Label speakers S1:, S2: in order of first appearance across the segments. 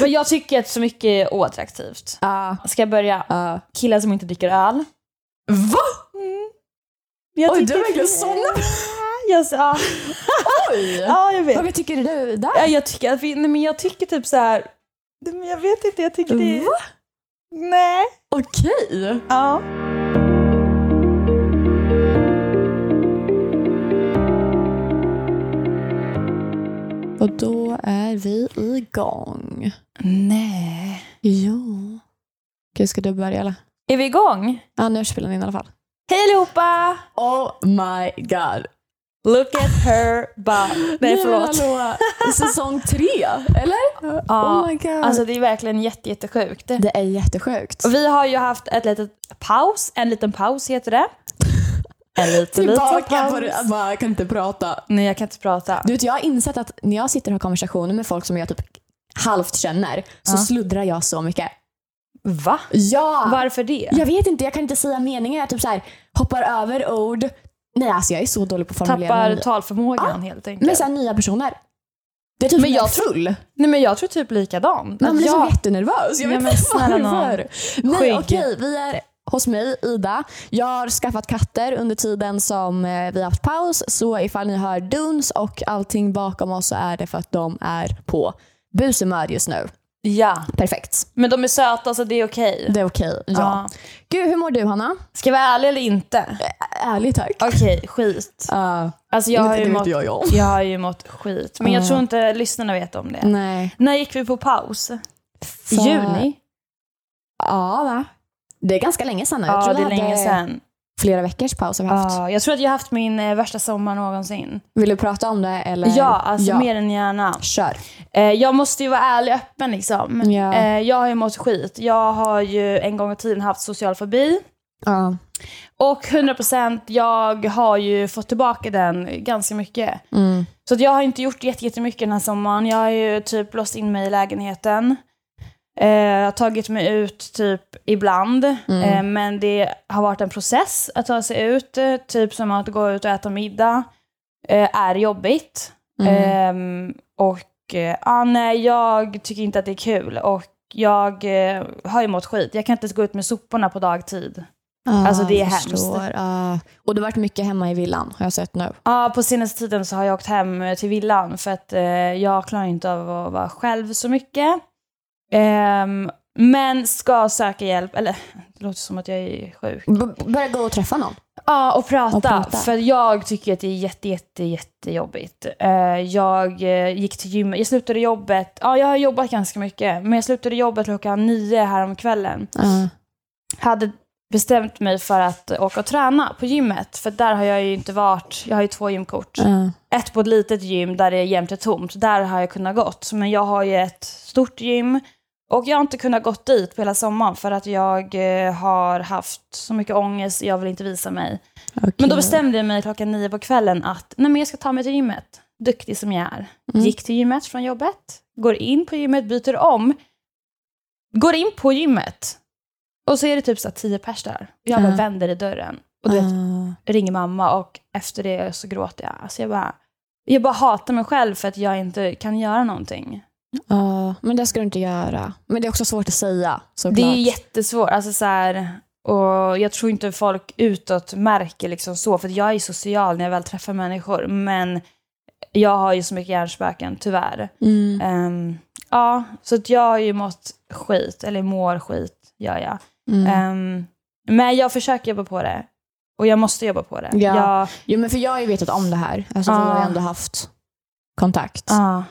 S1: Men jag tycker att så mycket är oattraktivt.
S2: Ja.
S1: Ska jag börja?
S2: ja.
S1: Killar som inte dricker öl.
S2: Va?
S1: Jag
S2: Oj,
S1: tycker-
S2: du är verkligen sån.
S1: Jag, ja.
S2: Oj!
S1: ja, jag vet.
S2: Vad tycker du där?
S1: Ja, jag, tycker att vi, nej, men jag tycker typ så här... Nej, men Jag vet inte, jag tycker det är...
S2: Va?
S1: Nej.
S2: Okej.
S1: Ja.
S2: Och då är vi igång.
S1: Nej.
S2: Jo. Gud, ska du börja eller?
S1: Är vi igång?
S2: Ja, nu spelar ni in i alla fall.
S1: Hej allihopa!
S2: Oh my god.
S1: Look at her butt. Nej, förlåt.
S2: Hallå. Säsong tre, eller? Oh
S1: Ja,
S2: my god.
S1: Alltså det är verkligen jätte, jättesjukt.
S2: det är jättesjukt.
S1: Och Vi har ju haft ett litet paus, en liten paus heter det. En liten, liten
S2: Tillbaka på det, att
S1: paus.
S2: bara, jag kan inte prata.
S1: Nej, jag kan inte prata.
S2: Du vet, jag har insett att när jag sitter och har konversationer med folk som jag typ halvt känner så
S1: Ja.
S2: sluddrar jag så mycket.
S1: Va?
S2: Ja!
S1: Varför det?
S2: Jag vet inte, jag kan inte säga meningar. Jag typ så här, hoppar över ord. Nej, alltså jag är så dålig på att formulera
S1: Tappar
S2: mig.
S1: talförmågan helt enkelt.
S2: Men sen nya personer. Det är typ
S1: Men
S2: när
S1: jag
S2: är full.
S1: Nej men jag tror typ likadant.
S2: Man
S1: Att
S2: blir
S1: jag-
S2: så jättenervös.
S1: Nej,
S2: Jag vet
S1: men
S2: inte
S1: snälla nån.
S2: varför. Nej,
S1: Skygg.
S2: okej, vi är hos mig, Ida. Jag har skaffat katter under tiden som eh, vi har haft paus. Så ifall ni hör duns och allting bakom oss så är det för att de är på bushumör just nu.
S1: Ja.
S2: Perfekt.
S1: Men de är söta så det är okej.
S2: Det är okej. Ja.
S1: Ja. Eh.
S2: Gud, hur mår du Hanna?
S1: Ska jag vara ärlig eller inte?
S2: Ärligt tack.
S1: Okej, skit.
S2: Uh,
S1: Alltså jag har, ju mått,
S2: jag, jag.
S1: jag har ju mått skit. Men jag tror inte lyssnarna vet om det.
S2: Nej.
S1: När gick vi på paus? Mm. I
S2: Så-
S1: juni?
S2: Ja, va? Det är ganska länge sedan nu.
S1: Ja, det
S2: vi
S1: är
S2: hade
S1: länge sedan.
S2: Flera veckors paus har vi haft.
S1: Ja, jag tror att jag har haft min eh, värsta sommar någonsin.
S2: Vill du prata om det? Eller?
S1: Ja, alltså mer än gärna.
S2: Kör.
S1: Eh, jag måste ju vara ärlig och öppen liksom.
S2: Ja.
S1: Eh, jag har ju mått skit. Jag har ju en gång i tiden haft social fobi.
S2: Ja.
S1: Och 100% jag har ju fått tillbaka den ganska mycket.
S2: Mm.
S1: Så att jag har inte gjort jätte- jättemycket den här sommaren. Jag har ju typ låst in mig i lägenheten. Eh, jag har tagit mig ut typ ibland. Eh, men det har varit en process att ta sig ut. Eh, typ som att gå ut och äta middag. Eh, är jobbigt. Ehm, och eh, ah, nej, jag tycker inte att det är kul. Och jag eh, har ju mått skit. Jag kan inte ens gå ut med soporna på dagtid.
S2: Ja,
S1: Alltså, det är
S2: jag
S1: hemskt.
S2: förstår. Ja. Och du har varit mycket hemma i villan har jag sett nu.
S1: Ja, på senaste tiden så har jag åkt hem till villan för att eh, jag klarar inte av att vara själv så mycket. Ehm, men ska söka hjälp, eller det låter som att jag är sjuk.
S2: B- börja gå och träffa någon.
S1: Ja, och prata,
S2: Och prata.
S1: För jag tycker att det är jätte, jätte, jättejobbigt. Eh, jag eh, gick till gymmet, jag slutade jobbet, ja jag har jobbat ganska mycket, men jag slutade jobbet klockan nio häromkvällen.
S2: Ja.
S1: Hade bestämt mig för att åka och träna på gymmet, för där har jag ju inte varit, jag har ju två gymkort
S2: Ja.
S1: ett på ett litet gym där det jämt är tomt. Där har jag kunnat gått. Men jag har ju ett stort gym och jag har inte kunnat gått dit på hela sommaren för att jag eh, har haft så mycket ångest jag vill inte visa mig.
S2: Okej.
S1: Men då bestämde jag mig klockan nio på kvällen att nej men jag ska ta mig till gymmet. Duktig som jag är.
S2: Mm.
S1: Gick till gymmet från jobbet, går in på gymmet, byter om, går in på gymmet. Och så är det typ så här tio pers där. Jag bara
S2: Ja.
S1: vänder i dörren. Och du vet,
S2: Ja.
S1: ringer mamma och efter det så gråter jag. Alltså jag, bara, jag bara hatar mig själv för att jag inte kan göra någonting.
S2: Ja, men det ska du inte göra. Men det är också svårt att säga såklart.
S1: Det är jättesvårt. Alltså så här, och jag tror inte folk utåt märker liksom så, för att jag är social när jag väl träffar människor. Men jag har ju så mycket hjärnspöken, tyvärr.
S2: Mm.
S1: Ehm, ja, så att jag har ju mått skit, eller mår skit, gör jag.
S2: Mm.
S1: Ehm, men jag försöker jobba på det. Och jag måste jobba på det.
S2: Ja.
S1: Jag,
S2: Jo, men för jag har ju vetat om det här. Alltså, Vi
S1: Ja.
S2: har ju ändå haft kontakt.
S1: ja,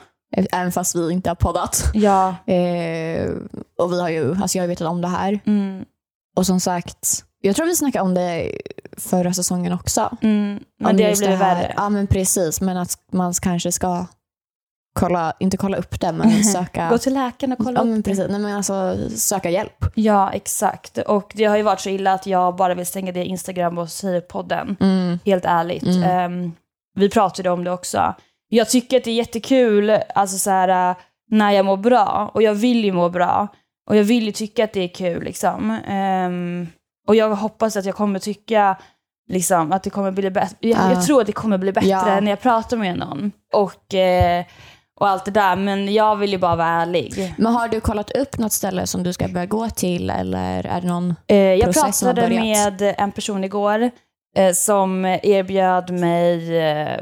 S2: Även fast vi inte har poddat.
S1: ja,
S2: Eh, och vi har ju, alltså jag har ju vetat om det här.
S1: mm,
S2: Och som sagt, jag tror vi snackade om det förra säsongen också.
S1: mm, men
S2: Om
S1: det har ju
S2: just
S1: blivit
S2: här.
S1: värre.
S2: Ja men precis, men att man kanske ska kolla, inte kolla upp det men söka,
S1: Gå till läkaren och kolla
S2: ja,
S1: upp
S2: men
S1: det.
S2: precis, nej, men alltså, söka hjälp.
S1: Ja, exakt. Och det har ju varit så illa att jag bara vill stänga det Instagram och säga podden.
S2: Mm.
S1: Helt ärligt.
S2: Mm.
S1: Ehm, vi pratade om det också. Jag tycker att det är jättekul alltså så här, äh, när jag mår bra. Och jag vill ju må bra. Och jag vill ju tycka att det är kul. Liksom. Ehm, och jag hoppas att jag kommer tycka liksom, att det kommer bli bättre. Jag,
S2: Ja.
S1: jag tror att det kommer bli bättre
S2: Ja.
S1: när jag pratar med någon. Och, eh, och allt det där. Men jag vill ju bara vara ärlig.
S2: Men har du kollat upp något ställe som du ska börja gå till eller är det någon?
S1: Eh, jag
S2: Processen har
S1: pratade
S2: börjat.
S1: med en person igår eh, som erbjöd mig eh,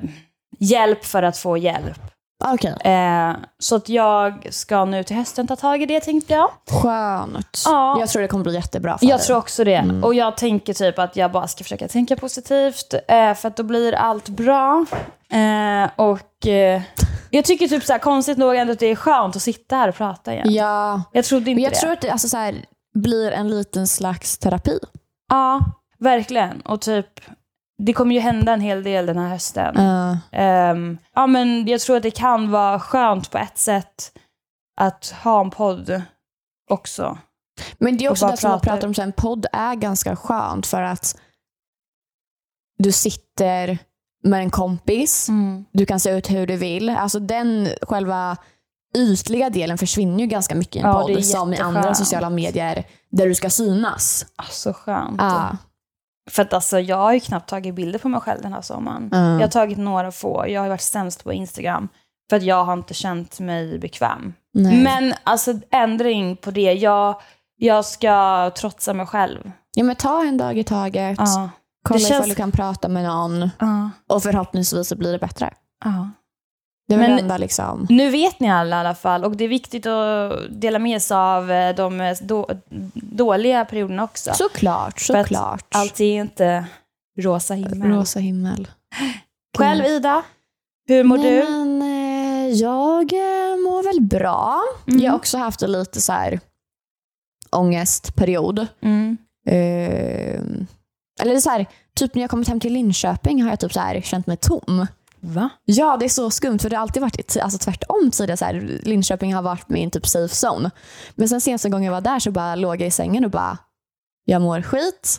S1: hjälp för att få hjälp.
S2: Okej.
S1: Eh, så att jag ska nu till hösten ta tag i det tänkte jag.
S2: Skönt.
S1: Ja.
S2: Jag tror det kommer bli jättebra för
S1: Jag
S2: dig.
S1: tror också det. Och jag tänker typ att jag bara ska försöka tänka positivt eh, för att då blir allt bra. Eh, och eh, jag tycker typ så här, konstigt nog ändå att det är skönt att sitta här och prata igen.
S2: Ja.
S1: Jag trodde inte
S2: Men jag
S1: det.
S2: tror att det alltså, så här, blir en liten slags terapi.
S1: Ja, verkligen. Och typ, det kommer ju hända en hel del den här hösten.
S2: Eh,
S1: Ehm, ja, men jag tror att det kan vara skönt på ett sätt att ha en podd också.
S2: Men det är
S1: Och
S2: också
S1: bara
S2: det som man
S1: pratar.
S2: pratar om, så här, en podd är ganska skönt för att du sitter med en kompis,
S1: Mm.
S2: du kan se ut hur du vill. Alltså den själva ytliga delen försvinner ju ganska mycket i en
S1: Ja, det är
S2: podd som i andra
S1: jätteskönt.
S2: sociala medier där du ska synas. Ah,
S1: Ah, så skönt.
S2: Ja.
S1: För att alltså, jag har ju knappt tagit bilder på mig själv den här sommaren.
S2: Mm.
S1: Jag har tagit några få. Jag har ju varit sämst på Instagram. För att jag har inte känt mig bekväm.
S2: Nej.
S1: Men alltså ändring på det. Jag, jag ska trotsa mig själv.
S2: ja, men ta en dag i taget,
S1: Ja.
S2: kolla
S1: det
S2: ifall
S1: känns-
S2: du kan prata med någon
S1: Ja.
S2: och förhoppningsvis så blir det bättre.
S1: Ja.
S2: Det är väl
S1: Men-
S2: det enda liksom.
S1: Nu vet ni alla i alla fall och det är viktigt att dela med sig av eh, de eh, då, dåliga perioderna också.
S2: Såklart,
S1: För att
S2: såklart.
S1: Allt är inte rosa himmel.
S2: Rosa himmel.
S1: Själv Ida, hur mår
S2: Nej,
S1: du?
S2: Men, eh, jag eh, mår väl bra.
S1: Mm.
S2: Jag har också haft en lite så här ångestperiod.
S1: Mm.
S2: Eh, eller så här, typ när jag kommit hem till Linköping har jag typ så här känt mig tom.
S1: Va?
S2: Ja, det är så skumt för det har alltid varit t- alltså tvärtom tidigare. Så här, Linköping har varit min typ safe zone. Men sen senaste gången jag var där så bara låg jag i sängen och bara, jag mår skit.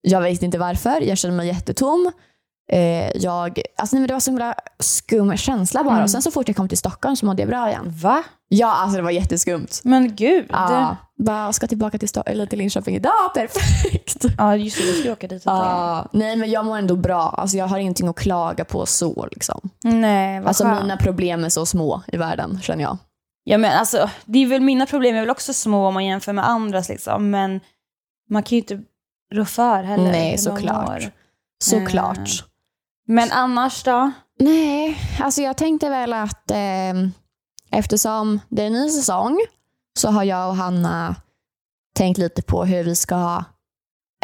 S2: Jag vet inte varför, jag känner mig jättetom. Eh, jag, alltså, nej, men det var så himla skum känsla bara.
S1: Mm.
S2: Och sen så fort jag kom till Stockholm så mådde jag bra igen.
S1: Va? Ah.
S2: Ja, alltså det var jätteskumt.
S1: Men gud.
S2: Ja, bara ska tillbaka till, Sto- eller till Linköping idag, perfekt.
S1: Ja, just det, du ska ju åka dit. antagligen.
S2: Ja, nej men jag mår ändå bra. Alltså, jag har ingenting att klaga på så. Liksom.
S1: Nej, vad
S2: Alltså
S1: skönt.
S2: mina problem är så små i världen känner jag.
S1: Ja, men alltså, det är väl mina problem är väl också små om man jämför med andras liksom, men man kan ju inte rå för heller.
S2: Nej,
S1: hur man
S2: såklart.
S1: mår.
S2: Såklart.
S1: Mm. Men annars då?
S2: Eh, Nej, alltså jag tänkte väl att eh, eftersom det är en ny säsong så har jag och Hanna tänkt lite på hur vi ska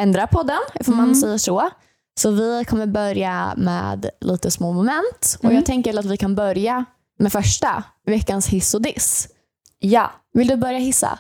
S2: ändra podden, ifall man
S1: Mm.
S2: säger så. Så vi kommer börja med lite små moment och
S1: Mm.
S2: jag tänker att vi kan börja med första, veckans hiss och diss.
S1: Ja.
S2: Vill du börja hissa?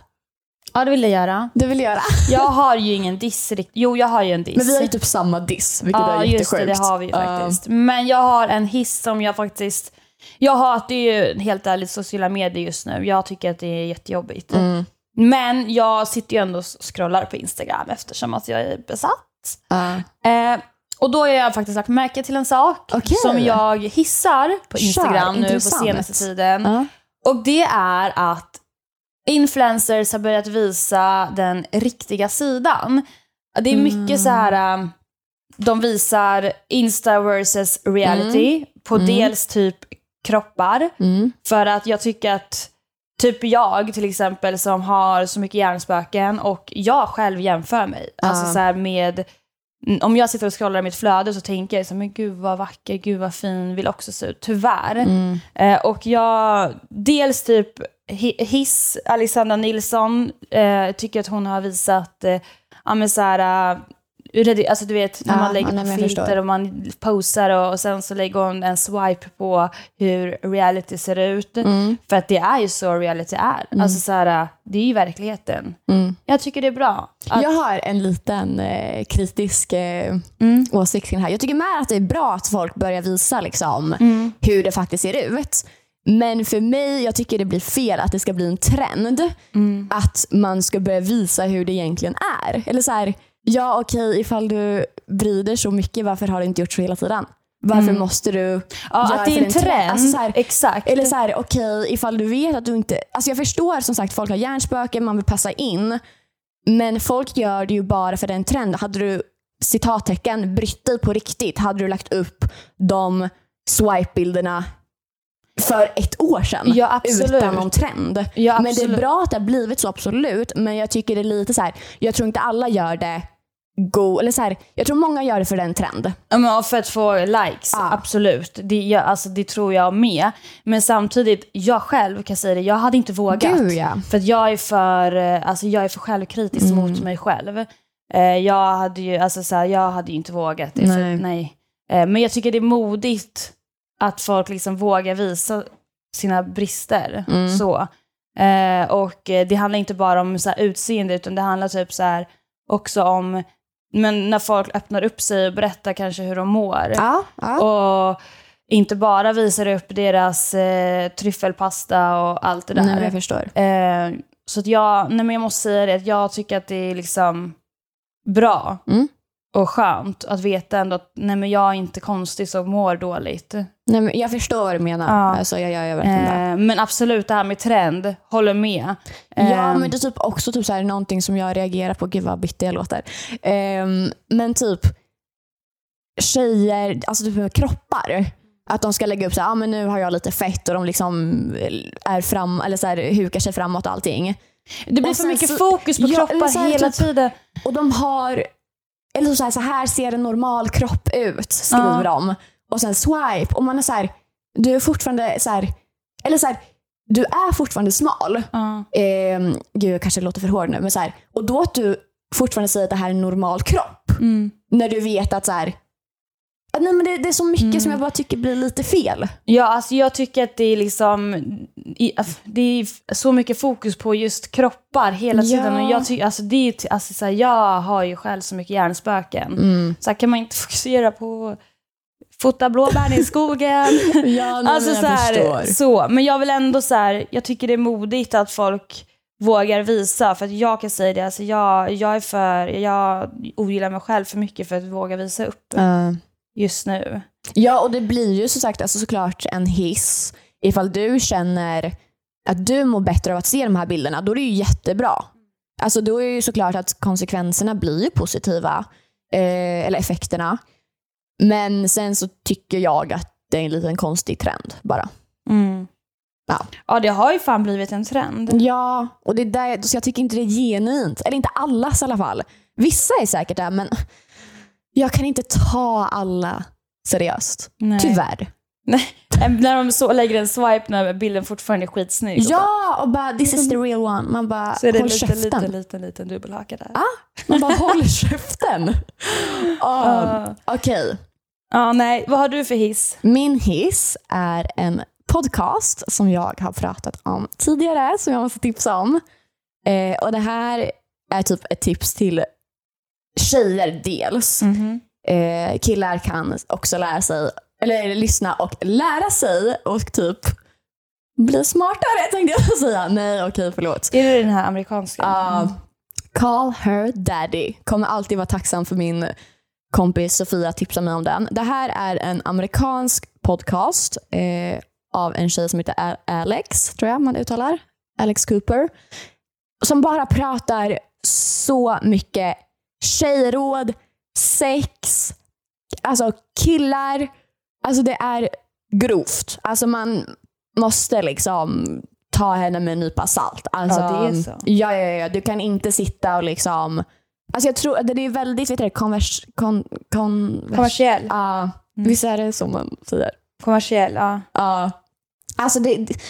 S1: Ja, det vill jag göra.
S2: Det vill jag göra.
S1: Jag har ju ingen diss rikt- Jo, jag har ju en diss.
S2: Men vi har ju typ samma diss, vilket
S1: ja,
S2: är
S1: just det,
S2: jättesjukt.
S1: det har vi ju
S2: Ja.
S1: faktiskt. Men jag har en hiss som jag faktiskt... Jag hatar ju helt ärligt sociala medier just nu. Jag tycker att det är jättejobbigt.
S2: Mm.
S1: Men jag sitter ju ändå och scrollar på Instagram eftersom att jag är besatt.
S2: Ja.
S1: Eh, och då har jag faktiskt lagt märke till en sak
S2: Okej.
S1: som jag hissar på
S2: Kör,
S1: Instagram nu
S2: intressant.
S1: på senaste tiden.
S2: Ja.
S1: Och det är att influencers har börjat visa den riktiga sidan. Det är mycket
S2: Mm.
S1: så här, um, de visar Insta versus reality på
S2: Mm.
S1: dels typ kroppar,
S2: Mm.
S1: för att jag tycker att typ jag till exempel som har så mycket hjärnspöken och jag själv jämför mig.
S2: Ja.
S1: Alltså så här med, om jag sitter och scrollar i mitt flöde så tänker jag så här, men gud vad vacker, gud vad fin, vill också se ut. Tyvärr.
S2: Mm.
S1: Eh, och jag, dels typ hi- hiss, Alexandra Nilsson, eh, tycker att hon har visat, eh, ja men så här, eh, redi- alltså du vet när
S2: Ja,
S1: man lägger
S2: nej,
S1: på
S2: men jag
S1: filter
S2: förstår.
S1: och man posar och, och sen så lägger hon en swipe på hur reality ser ut.
S2: Mm.
S1: För att det är ju så reality är. Alltså så här, eh, det är ju verkligheten.
S2: Mm.
S1: Jag tycker det är bra. Att,
S2: Jag har en liten eh, kritisk eh,
S1: Mm.
S2: åsikt kring det här. Jag tycker mer att det är bra att folk börjar visa liksom,
S1: Mm.
S2: hur det faktiskt ser ut. Men för mig, jag tycker det blir fel att det ska bli en trend
S1: Mm.
S2: att man ska börja visa hur det egentligen är. Eller så här, ja okej ifall du vrider så mycket, varför har du inte gjort så hela tiden? Varför
S1: Mm.
S2: måste du
S1: Ja,
S2: göra
S1: att det är en
S2: för
S1: trend.
S2: Alltså, så här,
S1: Exakt.
S2: eller så här, okej, ifall du vet att du inte... Alltså jag förstår som sagt, folk har hjärnspöken, man vill passa in. Men folk gör det ju bara för den trend. Hade du, citattecken, brytt dig på riktigt, hade du lagt upp de swipe-bilderna för ett år sedan.
S1: Ja, absolut.
S2: Utan någon trend.
S1: Ja,
S2: men det är
S1: absolut.
S2: bra att det har blivit så, absolut. Men jag tycker det är lite så här. jag tror inte alla gör det go, eller så här, jag tror många gör det för en trend.
S1: Ja, men och för att få likes,
S2: Ja.
S1: absolut. Det, jag, alltså, det tror jag med. Men samtidigt, jag själv kan säga det, jag hade inte vågat.
S2: Gud, ja.
S1: För att jag är för, eh, alltså, jag är för självkritisk
S2: Mm.
S1: mot mig själv. Eh, jag, hade ju, alltså, så här, jag hade ju inte vågat. Det, nej.
S2: Nej.
S1: För, nej. Eh, men jag tycker det är modigt att folk liksom vågar visa sina brister.
S2: Mm.
S1: Så. Eh, och eh, det handlar inte bara om så här, utseende, utan det handlar typ så här, också om men när folk öppnar upp sig och berättar kanske hur de mår.
S2: Ja, ja.
S1: Och inte bara visar upp deras eh, tryffelpasta och allt det där.
S2: Nej, men jag förstår.
S1: Eh, så att jag, nej men jag måste säga det, att jag tycker att det är liksom bra
S2: Mm.
S1: och skönt att veta ändå att nej men jag är inte konstig som mår dåligt.
S2: Nej, men jag förstår vad du menar.
S1: Ja.
S2: Alltså, jag gör jag verkligen det.
S1: Eh, men absolut det här med trend, håller med.
S2: Mm. Ja,
S1: Eh,
S2: men det är typ också typ så här, någonting som jag reagerar på. Gud vad bitter jag låter. Ehm, men typ tjejer, alltså typ med kroppar. Att de ska lägga upp så här, ah, men nu har jag lite fett och de liksom är fram, eller så här, hukar sig framåt och allting.
S1: det blir
S2: och
S1: för
S2: sen
S1: mycket
S2: så-
S1: fokus på
S2: Ja, eller så
S1: kroppar
S2: här
S1: hela
S2: typ-
S1: tiden.
S2: Och de har, eller så här, så här ser en normal kropp ut, skriver
S1: Ja.
S2: de. Och sen swipe. Och man är så här, du är fortfarande så här, eller så här, du är fortfarande smal.
S1: Ja.
S2: eh, gud jag kanske låter för hård nu, men så här, och då att du fortfarande säger att det här är en normal kropp.
S1: Mm.
S2: När du vet att så här, att nej, men det, det är så mycket som jag bara tycker blir lite fel.
S1: Ja, alltså jag tycker att det är liksom, i- alltså, det är så mycket fokus på just kroppar hela
S2: Ja.
S1: tiden. Och jag, ty, alltså det är, ju- alltså så här, jag har ju själv så mycket hjärnspöken. Så här, kan man inte fokusera på att fota blåbär i skogen?
S2: Ja,
S1: alltså, så, här, så Men jag vill ändå så här, jag tycker det är modigt att folk vågar visa. För att jag kan säga det, alltså jag, jag är för, jag ogillar mig själv för mycket för att våga visa upp just nu.
S2: ja, och det blir ju som sagt alltså, såklart en hiss. Ifall du känner att du mår bättre av att se de här bilderna, då är det ju jättebra. Alltså då är ju såklart att konsekvenserna blir ju positiva, eh, eller effekterna. Men sen så tycker jag att det är en liten konstig trend bara. Ja.
S1: Ja, det har ju fan blivit en trend.
S2: Ja, och det är där, så jag tycker inte det är genuint. Eller inte allas i alla fall. Vissa är säkert det, men jag kan inte ta alla seriöst.
S1: Nej.
S2: Tyvärr.
S1: Äh, När de så lägger en swipe när bilden fortfarande är skitsnygg. och bara-
S2: Ja, och bara this is the real one. Man bara,
S1: Så är det en
S2: håll
S1: liten,
S2: käften.
S1: liten, liten, liten dubbelhaka där.
S2: Ah. Man bara, håll käften. Ah,
S1: Ja,
S2: Okej,
S1: Ja, nej. Vad har du för hiss?
S2: min hiss är en podcast som jag har pratat om tidigare, som jag måste tipsa om. Eh, och det här är typ ett tips till tjejer dels. eh, killar kan också lära sig, eller lyssna och lära sig och typ bli smartare tänkte jag säga. Nej okej förlåt.
S1: Är det den här amerikanska?
S2: Ah, call her daddy. Kommer alltid vara tacksam för min kompis Sofia tipsade mig om den. Det här är en amerikansk podcast eh, av en tjej som heter A- Alex, tror jag man uttalar. Alex Cooper. Som bara pratar så mycket tjejråd, sex, alltså killar. Alltså det är grovt. Alltså man måste liksom ta henne med en nypa salt. Alltså
S1: Ja, det är så.
S2: Ja, ja, ja. Du kan inte sitta och liksom... Alltså jag tror att det är väldigt, vet du det, konvers... Kon, konvers
S1: Kommersiell.
S2: Ja,
S1: Mm.
S2: visst är det så man säger?
S1: Kommersiell, ja.
S2: Ja. Alltså det, det-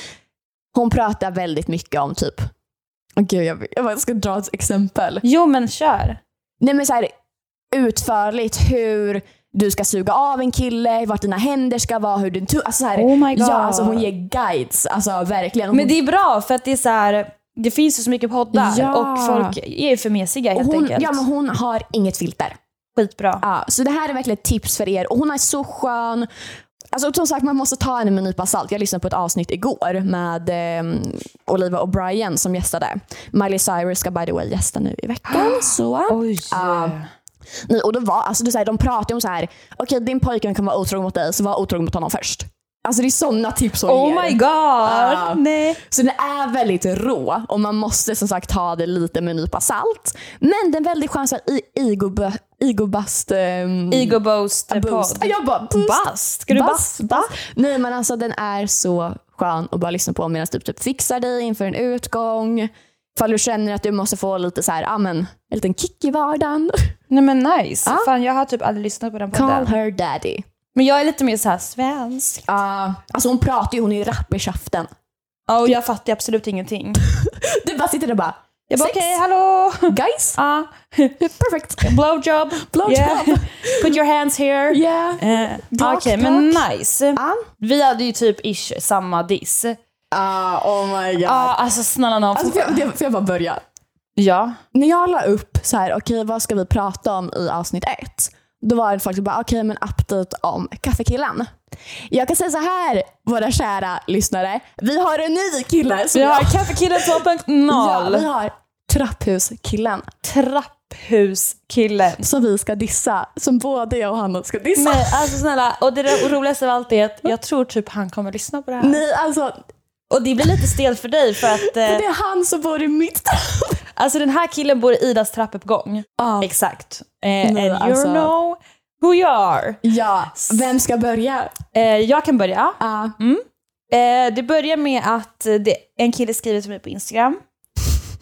S2: hon pratar väldigt mycket om typ... Åh Gud, jag, jag bara ska dra ett exempel.
S1: Jo, men kör.
S2: Nej men så här, utförligt hur du ska suga av en kille, vart dina händer ska vara, hur din tu- alltså så här,
S1: Oh my God.
S2: Ja, alltså hon ger guides. Alltså verkligen. Hon,
S1: Men det är bra för att det är så här, det finns ju så mycket poddar
S2: Ja.
S1: och folk är ju för mesiga
S2: och
S1: helt
S2: hon, Ah.
S1: enkelt.
S2: ja, men hon har inget filter.
S1: Skitbra.
S2: Ja, så det här är verkligen ett tips för er. Och hon är så skön. Alltså och som sagt, man måste ta henne med en nypa salt. Jag lyssnade på ett avsnitt igår med ehm, Oliva O'Brien som gästade. Miley Cyrus ska by the way gästa nu i veckan. Så.
S1: Oj.
S2: Ja. Nej, och då var, alltså, du, så här, de pratade om så här, okej din pojkvän kan vara otrogen mot dig, så var otrogen mot honom först. Alltså det är sådana tips hon ger.
S1: Oh my god!
S2: Ah.
S1: Nej.
S2: Så den är väldigt rå och man måste som sagt ta det lite med en nypa salt. Men den väldigt chans att i- ego- egobust... ehm,
S1: Ego boost eh,
S2: boost. Ah, Ja,
S1: podd.
S2: jag bara boost.
S1: Bast? Ska du bast?
S2: Nej men alltså den är så skön att bara lyssna på medan du typ fixar dig inför en utgång. Ifall du känner att du måste få lite så här, ah, men, en liten kick i vardagen.
S1: Nej men nice.
S2: Ah.
S1: Fan jag har typ aldrig lyssnat på den
S2: Call
S1: podden.
S2: her daddy.
S1: Men jag är lite mer såhär svensk.
S2: Uh, alltså hon pratar ju, hon är ju rapp i käften.
S1: Ja, och jag fattar absolut ingenting.
S2: Du bara sitter där och bara,
S1: Jag bara
S2: Sex.
S1: okej, hallå!
S2: guys,
S1: Ah.
S2: perfect.
S1: Blowjob!
S2: Blowjob.
S1: Put your hands here!
S2: Yeah.
S1: Eh, Okej,
S2: Brak,
S1: men nice.
S2: Ah.
S1: Vi hade ju typ ish samma diss. Ja,
S2: oh my god.
S1: alltså snälla nån.
S2: Alltså, får, jag, det- får jag bara börja?
S1: ja.
S2: När jag la upp så här, okej vad ska vi prata om i avsnitt ett? Då var det faktiskt bara, okej men update om kaffekillen. Jag kan säga så här, våra kära lyssnare. Vi har en ny kille. Som
S1: Vi har
S2: jag,
S1: Kaffekillen
S2: ja, vi
S1: 2.0.
S2: har trapphuskillen
S1: Trapphuskillen.
S2: som vi ska dissa. Som både jag och Hanna ska dissa.
S1: Nej, alltså snälla. Och det ro- roligaste av allt är att jag tror typ han kommer lyssna på det här.
S2: Nej alltså,
S1: Och det blir lite stelt för dig för att eh,
S2: det är han som bor i mitt
S1: alltså den här killen bor i Idas trappuppgång.
S2: Ja.
S1: Exakt. Eh, and
S2: Nej,
S1: you
S2: alltså.
S1: know who you are.
S2: Ja, vem ska börja?
S1: Eh, jag kan börja.
S2: Ah.
S1: Mm. Eh, det börjar med att det, en kille skriver till mig på Instagram.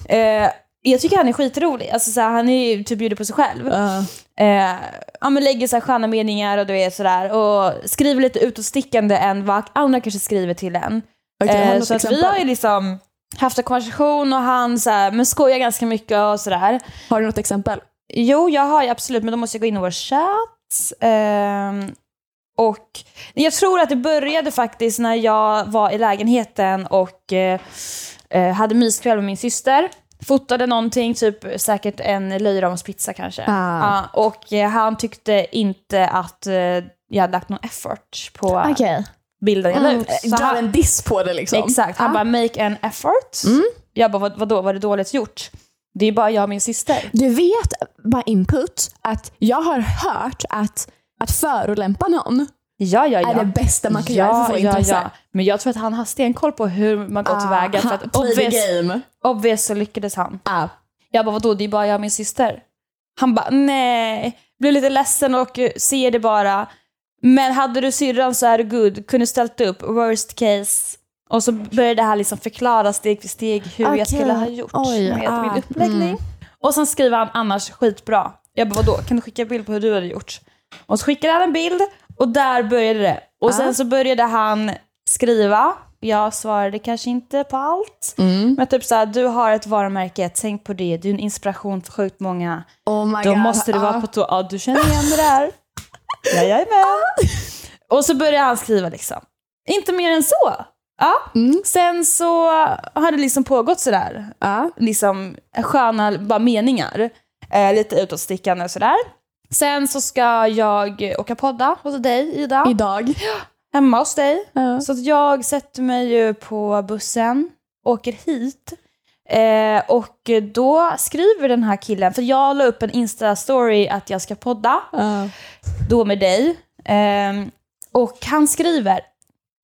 S1: Eh, jag tycker han är skitrolig. Alltså, såhär, han är ju typ bjuder på sig själv.
S2: ah.
S1: Eh, ja, men lägger så här sköna meningar och du vet sådär. Och skriver lite utåtstickande än vad andra kanske skriver till en.
S2: Okej, har du
S1: Eh,
S2: något
S1: så att vi
S2: exempel?
S1: har ju liksom haft en konversation och han så här, men skojar ganska mycket och sådär.
S2: Har du något exempel?
S1: Jo, jag har ju absolut, men då måste jag gå in i vår chatt. Ehm, och jag tror att det började faktiskt när jag var i lägenheten och eh, eh, hade myskväll med min syster. Fotade någonting, typ säkert en löjromspizza kanske.
S2: Ah.
S1: Ja, och eh, han tyckte inte att eh, jag hade lagt någon effort på
S2: Okej.
S1: bilden jag la
S2: Mm.
S1: ut. Så
S2: Drar
S1: han-
S2: en diss på det liksom.
S1: Exakt, han
S2: Ah. Mm.
S1: bara “make an effort”. Jag bara “vadå, var det dåligt gjort?” Det är bara jag och min syster.
S2: Du vet, bara input, att jag har hört att, att förolämpa någon
S1: Ja, ja, ja.
S2: är det bästa man kan göra för att få intresse. Ah,
S1: Men jag tror att han har stenkoll på hur man går tillväga. För att
S2: play
S1: obvious,
S2: the game.
S1: obvious så lyckades han.
S2: Ah.
S1: Jag bara, vadå, det är bara jag och min syster. Han bara, nej. Blev lite ledsen och eh, ser det bara. Men hade du syrran så är du good. Kunde ställt upp, worst case. Och så började det här liksom förklara steg för steg hur
S2: Okej.
S1: jag skulle ha gjort
S2: Oj,
S1: med
S2: ah,
S1: min uppläggning. Och sen skriver han annars skitbra. Jag bara, vadå, kan du skicka en bild på hur du hade gjort? Och så skickade han en bild och där började det. Och
S2: Ah.
S1: sen så började han skriva. Jag svarade kanske inte på allt. Men typ såhär, du har ett varumärke, tänk på det. Du är en inspiration för sjukt många.
S2: Oh my
S1: Då
S2: God.
S1: måste du vara
S2: Ah.
S1: på tå. Ja, du känner igen det där. Ja, jag är med. Och så börjar han skriva liksom. Inte mer än så. Ja.
S2: Mm.
S1: Sen så har det liksom pågått sådär
S2: Ah.
S1: liksom sköna bara meningar. Eh, lite utåtstickande och sådär. Sen så ska jag åka podda hos dig Ida,
S2: Idag.
S1: hemma hos dig.
S2: Ja.
S1: Så att jag sätter mig ju på bussen, åker hit. Eh, och då skriver den här killen, för jag la upp en Insta-story att jag ska podda,
S2: Ah.
S1: då med dig. Ehm, och han skriver,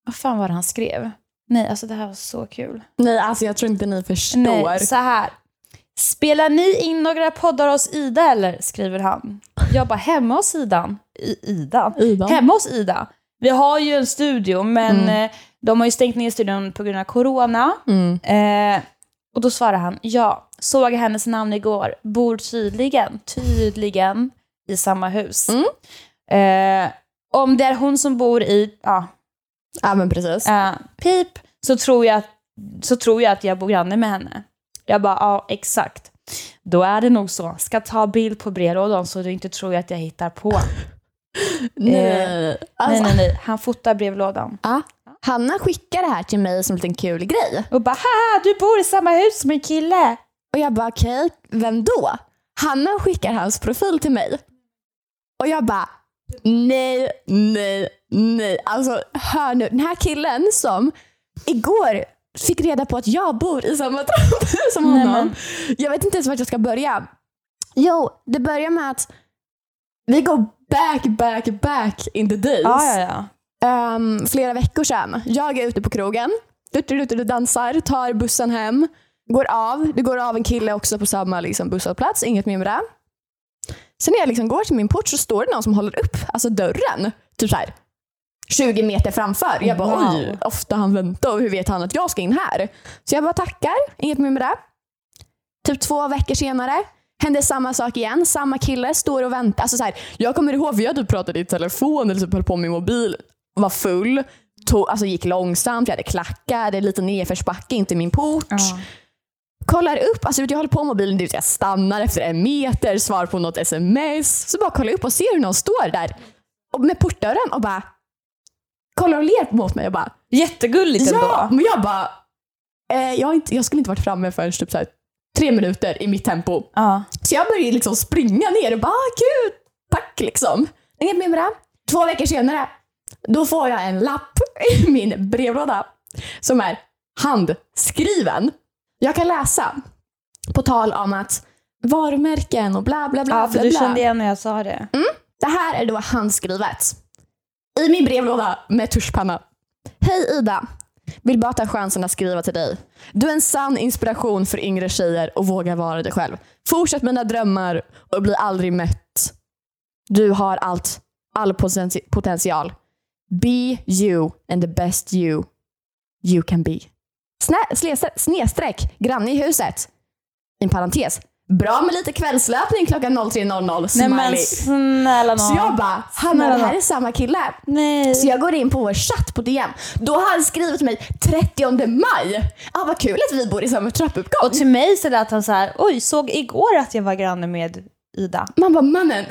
S1: vad fan var det han skrev? Nej, alltså det här var så kul.
S2: Nej, alltså jag tror inte ni förstår.
S1: Nej, så här. Spelar ni in några poddar hos Ida eller? Skriver han. Jag bara, hemma hos Idan. I, Ida?
S2: Idan.
S1: Hemma hos Ida. Vi har ju en studio, men eh, de har ju stängt ner studion på grund av corona.
S2: Mm.
S1: Eh, och då svarar han, ja, såg hennes namn igår, bor tydligen, tydligen i samma hus.
S2: Mm.
S1: Eh, om det är hon som bor i, ja,
S2: Ja, Ah, men precis.
S1: eh, pip, så tror, jag, så tror jag att jag bor granne med henne. Jag bara, ja exakt. Då är det nog så. Ska ta bild på brevlådan så du inte tror att jag hittar på.
S2: nej. Alltså,
S1: Nej, nej, nej. Han fotar brevlådan.
S2: Ah. Hanna skickar det här till mig som en liten kul grej.
S1: Och bara, haha, du bor i samma hus som en kille.
S2: Och jag bara okej, vem då? Hanna skickar hans profil till mig. Och jag bara nej, nej, nej. Alltså hör nu, den här killen som igår fick reda på att jag bor i samma trapp som
S1: Nej,
S2: honom.
S1: men-
S2: Jag vet inte ens vart jag ska börja. Jo, det börjar med att vi går back, back, back in the days.
S1: Ja, ja, ja.
S2: ehm, flera veckor sedan. Jag är ute på krogen, du, du, du, du dansar, tar bussen hem, går av. Det går av en kille också på samma liksom, busshållplats, inget mer med det. Sen när jag liksom går till min port så står det någon som håller upp alltså dörren. Typ så här 20 meter framför. Jag bara
S1: Wow.
S2: oj, ofta han väntar och hur vet han att jag ska in här? Så jag bara tackar, inget mer med det. Typ två veckor senare hände samma sak igen. Samma kille står och väntar. Alltså så här, jag kommer ihåg, vi hade typ pratat i telefon eller typ höll på med mobil. Var full, tog, alltså gick långsamt, jag hade klackar, det är lite nedförsbacke in till min port. Kollar upp, alltså jag håller på med mobilen, det vill säga jag stannar efter en meter, svarar på något sms. Så bara kollar jag upp och ser hur någon står där och med portdörren och bara kollar och ler mot mig och bara
S1: Jättegulligt
S2: Ja,
S1: ändå.
S2: men jag bara eh, jag, har inte, jag skulle inte varit framme förrän typ så här, tre minuter i mitt tempo.
S1: Ja.
S2: Så jag började liksom springa ner och bara ah, gud, tack liksom. Inget mer med det. Två veckor senare, då får jag en lapp i min brevlåda som är handskriven. Jag kan läsa på tal om att varumärken och bla bla bla.
S1: ja, Mm. för
S2: bla,
S1: du
S2: bla.
S1: kände igen när jag sa det.
S2: Det här är då handskrivet. I min brevlåda med tuschpenna. Hej Ida! Vill bara ta chansen att skriva till dig. Du är en sann inspiration för yngre tjejer och vågar vara dig själv. Fortsätt mina drömmar och bli aldrig mött. Du har allt, all poten- potential. Be you and the best you you can be. Snä- slesa- Snedstreck, granne i huset. I en parentes. Bra med lite kvällslöpning klockan 03.00.
S1: Nej
S2: Smiley.
S1: men snälla nån.
S2: Så jag bara, Hanna det
S1: Snälla.
S2: här är samma kille.
S1: Nej.
S2: Så jag går in på vår chatt på DM. Då har han skrivit till mig 30 maj. Ah, vad kul att vi bor i samma trappuppgång.
S1: Och till mig så lät han så här, oj, såg igår att jag var granne med Ida.
S2: Man bara, mannen,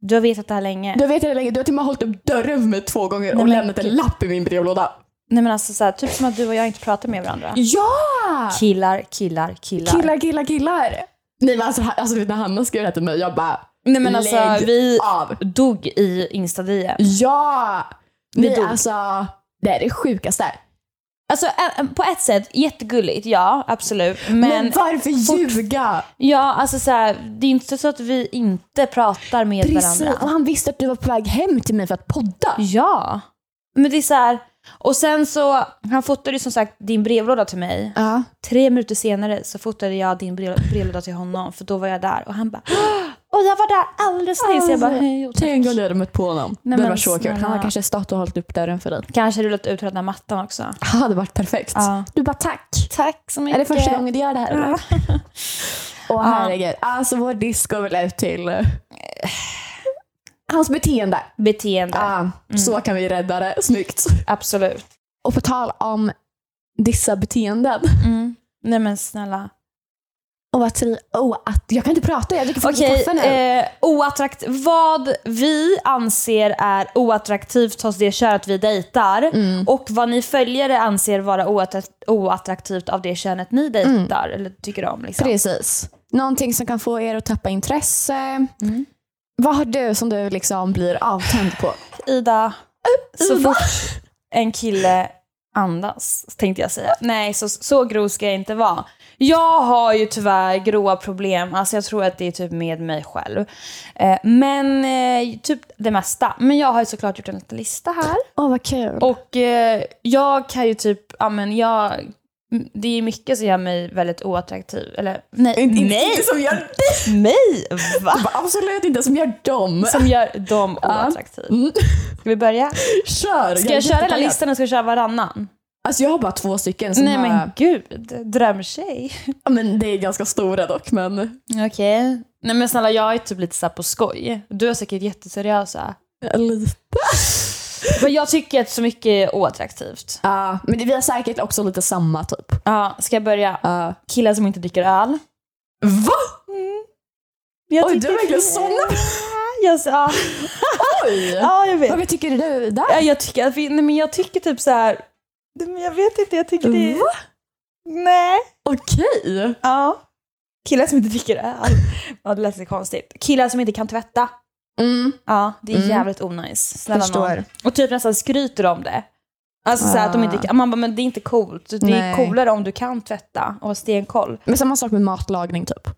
S1: Du har vetat det här länge.
S2: du vet det länge. Du har till och med hållit upp dörren för mig två gånger
S1: Nej,
S2: och
S1: men
S2: lämnat en
S1: gud.
S2: lapp i min brevlåda.
S1: Nej men alltså så här, typ som att du och jag inte pratar med varandra.
S2: Ja!
S1: Killar, killar, killar.
S2: Killar, killar, killar. Nej men alltså, alltså du vet, när Hanna skrev det här till mig, jag bara,
S1: Nej men alltså
S2: Lägg
S1: vi
S2: av.
S1: dog i instadien.
S2: Ja!
S1: Vi
S2: Nej
S1: dog.
S2: alltså, det är det sjukaste.
S1: Alltså ä- ä- på ett sätt jättegulligt, ja absolut. Men,
S2: Men, varför
S1: fort-
S2: ljuga?
S1: ja alltså så här, det är inte så att vi inte pratar med
S2: Precis, och
S1: varandra.
S2: han visste att du var på väg hem till mig för att podda.
S1: Ja. Men det är så här, och sen så, han fotade ju som sagt din brevlåda till mig.
S2: Ja.
S1: Tre minuter senare så fotade jag din brev- brevlåda till honom för då var jag där och han bara och jag var där alldeles nyss. jag bara hej och tack.
S2: Tänk om du hade mött på honom.
S1: Nej,
S2: det
S1: men
S2: var så kul.
S1: snälla.
S2: Han har kanske stått och hållit upp dörren för dig.
S1: Kanske rullat ut röda mattan också.
S2: Det hade varit perfekt.
S1: Ja.
S2: Du bara tack.
S1: Tack så mycket.
S2: Är det första gången du gör det här? eller? Åh
S1: Ja.
S2: herregud. Alltså vår disco vill ut till eh, hans beteende.
S1: Beteende.
S2: Ja, Mm. Så kan vi rädda det. Snyggt.
S1: Absolut.
S2: Och på tal om dissa beteenden.
S1: Mm. Nej men snälla.
S2: Och att, oh, att, jag kan inte prata, jag dricker för mycket
S1: Okej,
S2: kaffe nu.
S1: eh, oattrakt- vad vi anser är oattraktivt hos det könet vi dejtar
S2: Mm.
S1: och vad ni följare anser vara oattra- oattraktivt av det könet
S2: Mm.
S1: ni dejtar eller tycker om. Liksom.
S2: Precis. Någonting som kan få er att tappa intresse.
S1: Mm.
S2: Vad har du som du liksom blir avtänd på?
S1: Ida, så
S2: Eh, Ida.
S1: fort en kille andas, tänkte jag säga. Nej, så, så grov ska jag inte vara. Jag har ju tyvärr grova problem, alltså jag tror att det är typ med mig själv. Eh, men eh, typ det mesta. Men jag har ju såklart gjort en liten lista här.
S2: Åh vad kul.
S1: Och eh, jag kan ju typ, ja men jag, m- det är mycket som gör mig väldigt oattraktiv. Eller nej,
S2: Inte, inte,
S1: nej,
S2: inte som gör
S1: mig! Va?
S2: Absolut inte som gör dem.
S1: Som gör dem oattraktiva.
S2: Mm.
S1: Ska vi börja?
S2: Kör!
S1: Ska jag köra hela listan eller ska jag köra varannan?
S2: Alltså jag har bara två stycken som
S1: Nej
S2: har,
S1: men gud, drömtjej.
S2: Ja, men det är ganska stora dock men
S1: Okej. Nej men snälla jag är typ lite såhär på skoj. Du är säkert jätteseriösa.
S2: lite.
S1: Men jag tycker att så mycket är oattraktivt.
S2: Ja, men vi har säkert också lite samma typ.
S1: Ja, ska jag börja?
S2: Uh.
S1: Killar som inte dricker öl. Mm.
S2: Va?
S1: Jag
S2: Oj,
S1: tycker-
S2: du är verkligen sån.
S1: Jag, sa- ja,
S2: Oj!
S1: ja, jag vet.
S2: Vad tycker du där?
S1: Ja, jag tycker att vi, nej, men jag tycker typ så här. Nej, men jag vet inte, jag tycker det är...
S2: Va?
S1: Nej.
S2: Okej.
S1: Ja. Killar som inte dricker öl. Ja, det lät lite konstigt. Killar som inte kan tvätta.
S2: Mm.
S1: Ja, det är
S2: Mm.
S1: jävligt onajs. Snälla
S2: Förstår.
S1: nån. Och typ nästan skryter om det. Alltså så här att de inte kan, man bara, men det är inte coolt. Det
S2: Nej.
S1: är coolare om du kan tvätta och ha stenkoll.
S2: Men samma sak med matlagning typ.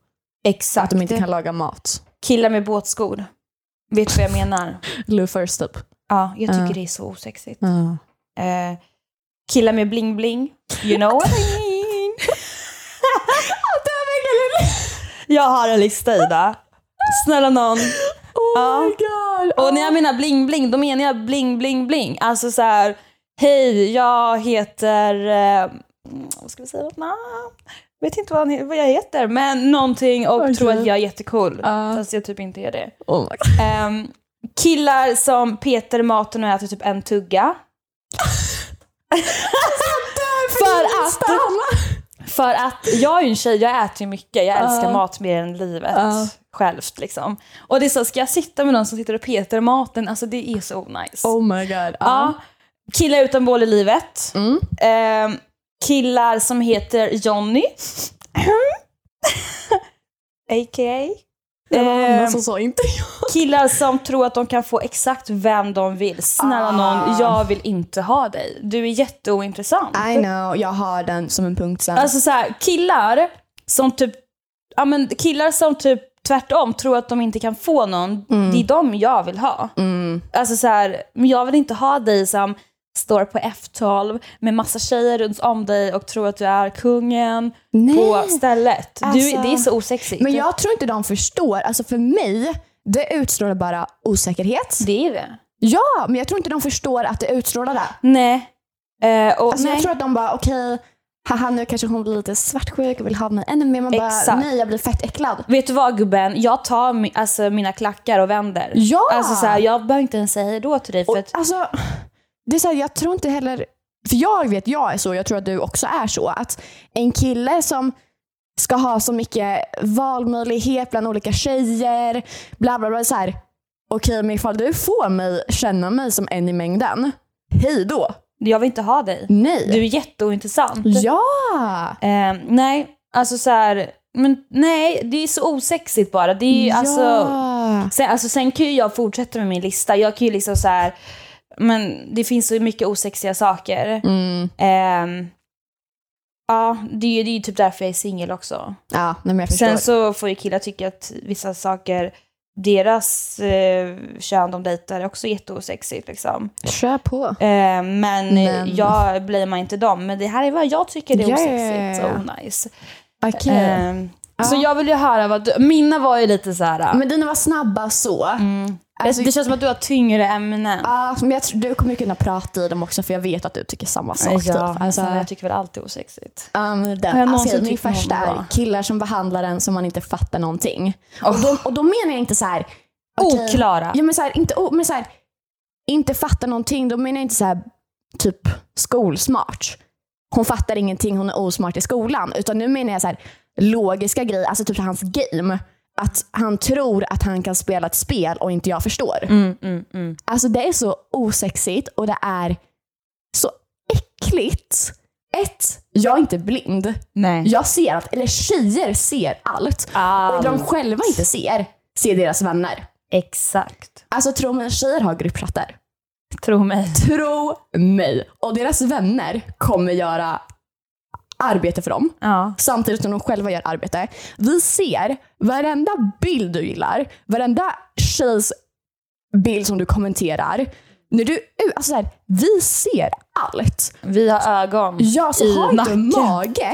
S1: Exakt.
S2: Att de inte kan laga mat.
S1: Killar med båtskor. Vet du vad jag menar?
S2: Loafers typ.
S1: Ja, Ah. jag tycker
S2: Ja.
S1: det är så osexigt.
S2: Ja.
S1: Eh, killar med bling-bling, you know what I mean. jag har en lista Ida. Snälla någon.
S2: Oh
S1: Ja.
S2: my god!
S1: Och när jag menar bling-bling, då menar jag bling-bling-bling. Alltså så här, hej, jag heter... Eh, vad ska vi säga? Nah, vet inte vad, han, he- vad jag heter, men någonting och
S2: Okej.
S1: tror att jag är jättecool.
S2: Ja.
S1: Fast jag typ inte är det.
S2: Oh my god.
S1: Ehm, killar som petar i maten och äter typ en tugga.
S2: Alltså,
S1: för, att, för att jag är ju en tjej, jag äter ju mycket. Jag älskar
S2: Ja.
S1: mat mer än livet
S2: Ja.
S1: självt. Liksom. Och det är så, ska jag sitta med någon som sitter och petar i maten? Alltså det är så nice.
S2: Oh my god.
S1: Ja. Killar utan mål i livet.
S2: Mm.
S1: Ehm, killar som heter Johnny. A.k.a.
S2: Det var
S1: Ehm,
S2: Hanna som sa inte jag.
S1: Killar som tror att de kan få exakt vem de vill. Snälla
S2: Ah.
S1: någon, jag vill inte ha dig. Du är jätteointressant.
S2: I know, jag har den som en punkt sen.
S1: Alltså så här, killar som typ, ja men killar som typ tvärtom tror att de inte kan få någon, det är de jag vill ha.
S2: mm.
S1: Alltså så här, men jag vill inte ha dig som står på F12 med massa tjejer runt om dig och tror att du är kungen på stället. Du,
S2: Alltså-
S1: det är så osexigt.
S2: Men jag tror inte de förstår. Alltså för mig, det utstrålar bara osäkerhet.
S1: Det är det.
S2: Ja, men jag tror inte de förstår att det utstrålar det.
S1: Nej. Eh, och,
S2: Alltså
S1: nej.
S2: jag tror att de bara, okej, haha nu kanske hon blir lite svartsjuk och vill ha mig ännu mer. Man bara,
S1: Exakt.
S2: nej jag blir fett äcklad.
S1: Vet du vad gubben, jag tar mi- alltså, mina klackar och vänder.
S2: Ja!
S1: Alltså, så här, jag behöver inte ens säga hej då till dig. För
S2: och,
S1: att,
S2: alltså, det är så här, jag tror inte heller, för jag vet jag är så, jag tror att du också är så, att en kille som ska ha så mycket valmöjlighet bland olika tjejer, bla bla bla, så här, okej men ifall du får mig känna mig som en i mängden, hej då.
S1: jag vill inte ha dig. Du
S2: Nej.
S1: är jätteointressant.
S2: Ja!
S1: Eh, nej, alltså så här, men nej, det är så osexigt bara. Det är ju,
S2: ja.
S1: alltså, sen, alltså, sen kan ju jag fortsätta med min lista. Jag kan ju liksom så här, men det finns så mycket osexiga saker.
S2: Mm.
S1: Ehm, ja, det är ju det är ju typ därför jag är singel också.
S2: Ja, nej, men jag förstår.
S1: Sen så får ju killar tycka att vissa saker, deras eh, kön de dejtar är också jätteosexigt. Liksom.
S2: Kör på.
S1: Eh, men eh,
S2: Men-
S1: jag blamear inte dem. Men det här är vad jag tycker det är
S2: Ja, ja, ja,
S1: osexigt
S2: ja.
S1: och nice.
S2: Okej.
S1: Eh, Så
S2: Ja.
S1: jag vill ju höra vad du... Mina var ju lite så här...
S2: Men dina var snabba så.
S1: mm.
S2: Alltså-
S1: det känns som att du har tyngre ämnen.
S2: Ja, men jag tror, du kommer kunna prata i dem också för jag vet att du tycker samma sak. typ.
S1: ja,
S2: alltså,
S1: alltså, jag tycker väl allt är osexigt.
S2: um, den,
S1: Har jag
S2: alltså,
S1: någonsin
S2: min
S1: tyckt någon
S2: första
S1: var bra?
S2: är killar som behandlar en som man inte fattar någonting. Och,
S1: Oh.
S2: då, och då menar jag inte så här... okej,
S1: Oklara.
S2: Ja, men så här, inte, o- men så här, inte fattar någonting, då menar jag inte så här, typ skolsmart. Hon fattar ingenting, hon är osmart i skolan. Utan nu menar jag så här, logiska grejer, alltså typ hans game. Att han tror att han kan spela ett spel och inte jag förstår.
S1: Mm, mm, mm.
S2: Alltså det är så osexigt och det är så äckligt. Ett, jag är inte blind.
S1: Nej. Ah.
S2: Jag ser allt, eller tjejer ser allt. Och
S1: Allt.
S2: det de själva inte ser, ser deras vänner.
S1: Exakt.
S2: Alltså tro mig, tjejer har gruppchatter.
S1: Tro mig.
S2: Tro mig. Och deras vänner kommer göra arbete för dem.
S1: Ja.
S2: Samtidigt som de själva gör arbete. Vi ser varenda bild du gillar, varenda tjejs bild som du kommenterar. När du, alltså så här, vi ser allt.
S1: Vi har ögon.
S2: Jag så
S1: I
S2: har inte
S1: nacken.
S2: mage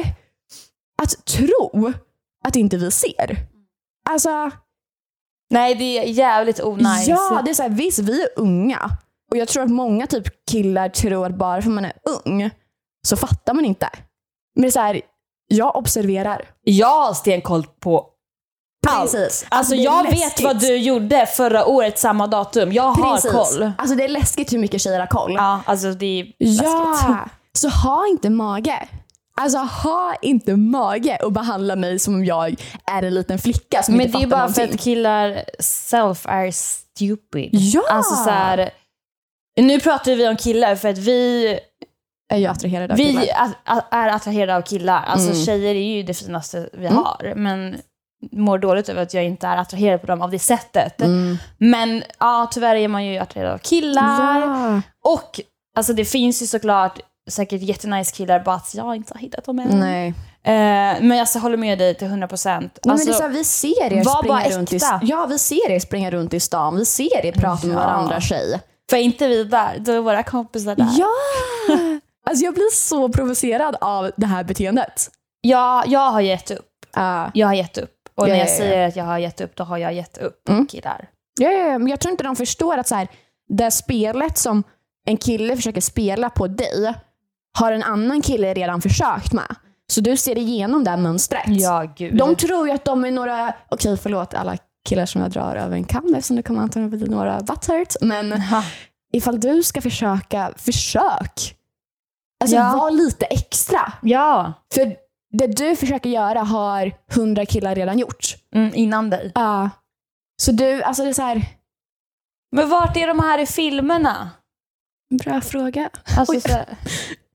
S2: att tro att inte vi ser. Alltså,
S1: Nej, det är jävligt onajs.
S2: Ja, det är så här, visst vi är unga. Och jag tror att många typ killar tror att bara för man är ung så fattar man inte. Men det är så här, jag observerar.
S1: Jag har stenkoll på allt.
S2: Precis.
S1: Alltså
S2: det är
S1: jag vet
S2: läskigt.
S1: vad du gjorde förra året samma datum. Jag har
S2: Precis.
S1: koll.
S2: Alltså det är läskigt hur mycket tjejer har koll.
S1: Ja, alltså det är läskigt.
S2: Ja! Så ha inte mage. Alltså ha inte mage och behandla mig som om jag är en liten flicka som
S1: Men
S2: inte
S1: det är
S2: fattar
S1: bara för
S2: någonting.
S1: att killar self are stupid.
S2: Ja!
S1: Alltså så här, nu pratar vi om killar för att vi,
S2: Är jag attraherad av killar?
S1: vi a- a- är attraherade av killar. Alltså
S2: Mm.
S1: tjejer är ju det finaste vi
S2: Mm.
S1: har. Men mår dåligt över att jag inte är attraherad på dem av det sättet.
S2: Mm.
S1: Men ja, tyvärr är man ju attraherad av killar.
S2: Ja.
S1: Och alltså det finns ju såklart säkert jättenice killar, bara att jag inte har hittat dem än.
S2: Nej.
S1: Eh, men alltså, jag håller med dig till 100 procent.
S2: Nej,
S1: Alltså,
S2: men det är så här, vi ser er
S1: var
S2: springa
S1: bara
S2: runt i,
S1: äkta.
S2: ja, vi ser er springa runt i stan. Vi ser er prata med
S1: Ja.
S2: varandra tjej.
S1: För är inte vi där, då är våra kompisar där.
S2: Ja! Alltså jag blir så provocerad av det här beteendet.
S1: Ja, jag har gett upp.
S2: Ja,
S1: Jag har gett upp. Och
S2: Ja,
S1: när jag
S2: ja, ja.
S1: säger att jag har gett upp, då har jag gett upp.
S2: Mm.
S1: Killar.
S2: ja, ja, men jag tror inte de förstår att så här, det spelet som en kille försöker spela på dig har en annan kille redan försökt med. Så du ser igenom det här mönstret.
S1: Ja, gud.
S2: De tror ju att de är några, okej förlåt alla killar som jag drar över en kam eftersom det kommer antagligen bli några butthurts. Men
S1: Ha.
S2: ifall du ska försöka, försök! Alltså
S1: Ja.
S2: var lite extra.
S1: Ja,
S2: För det du försöker göra har hundra killar redan gjort.
S1: mm, innan dig.
S2: Ja. Så du, alltså det är så här,
S1: Men vart är de här i filmerna?
S2: bra fråga.
S1: Alltså,
S2: Oj.
S1: så,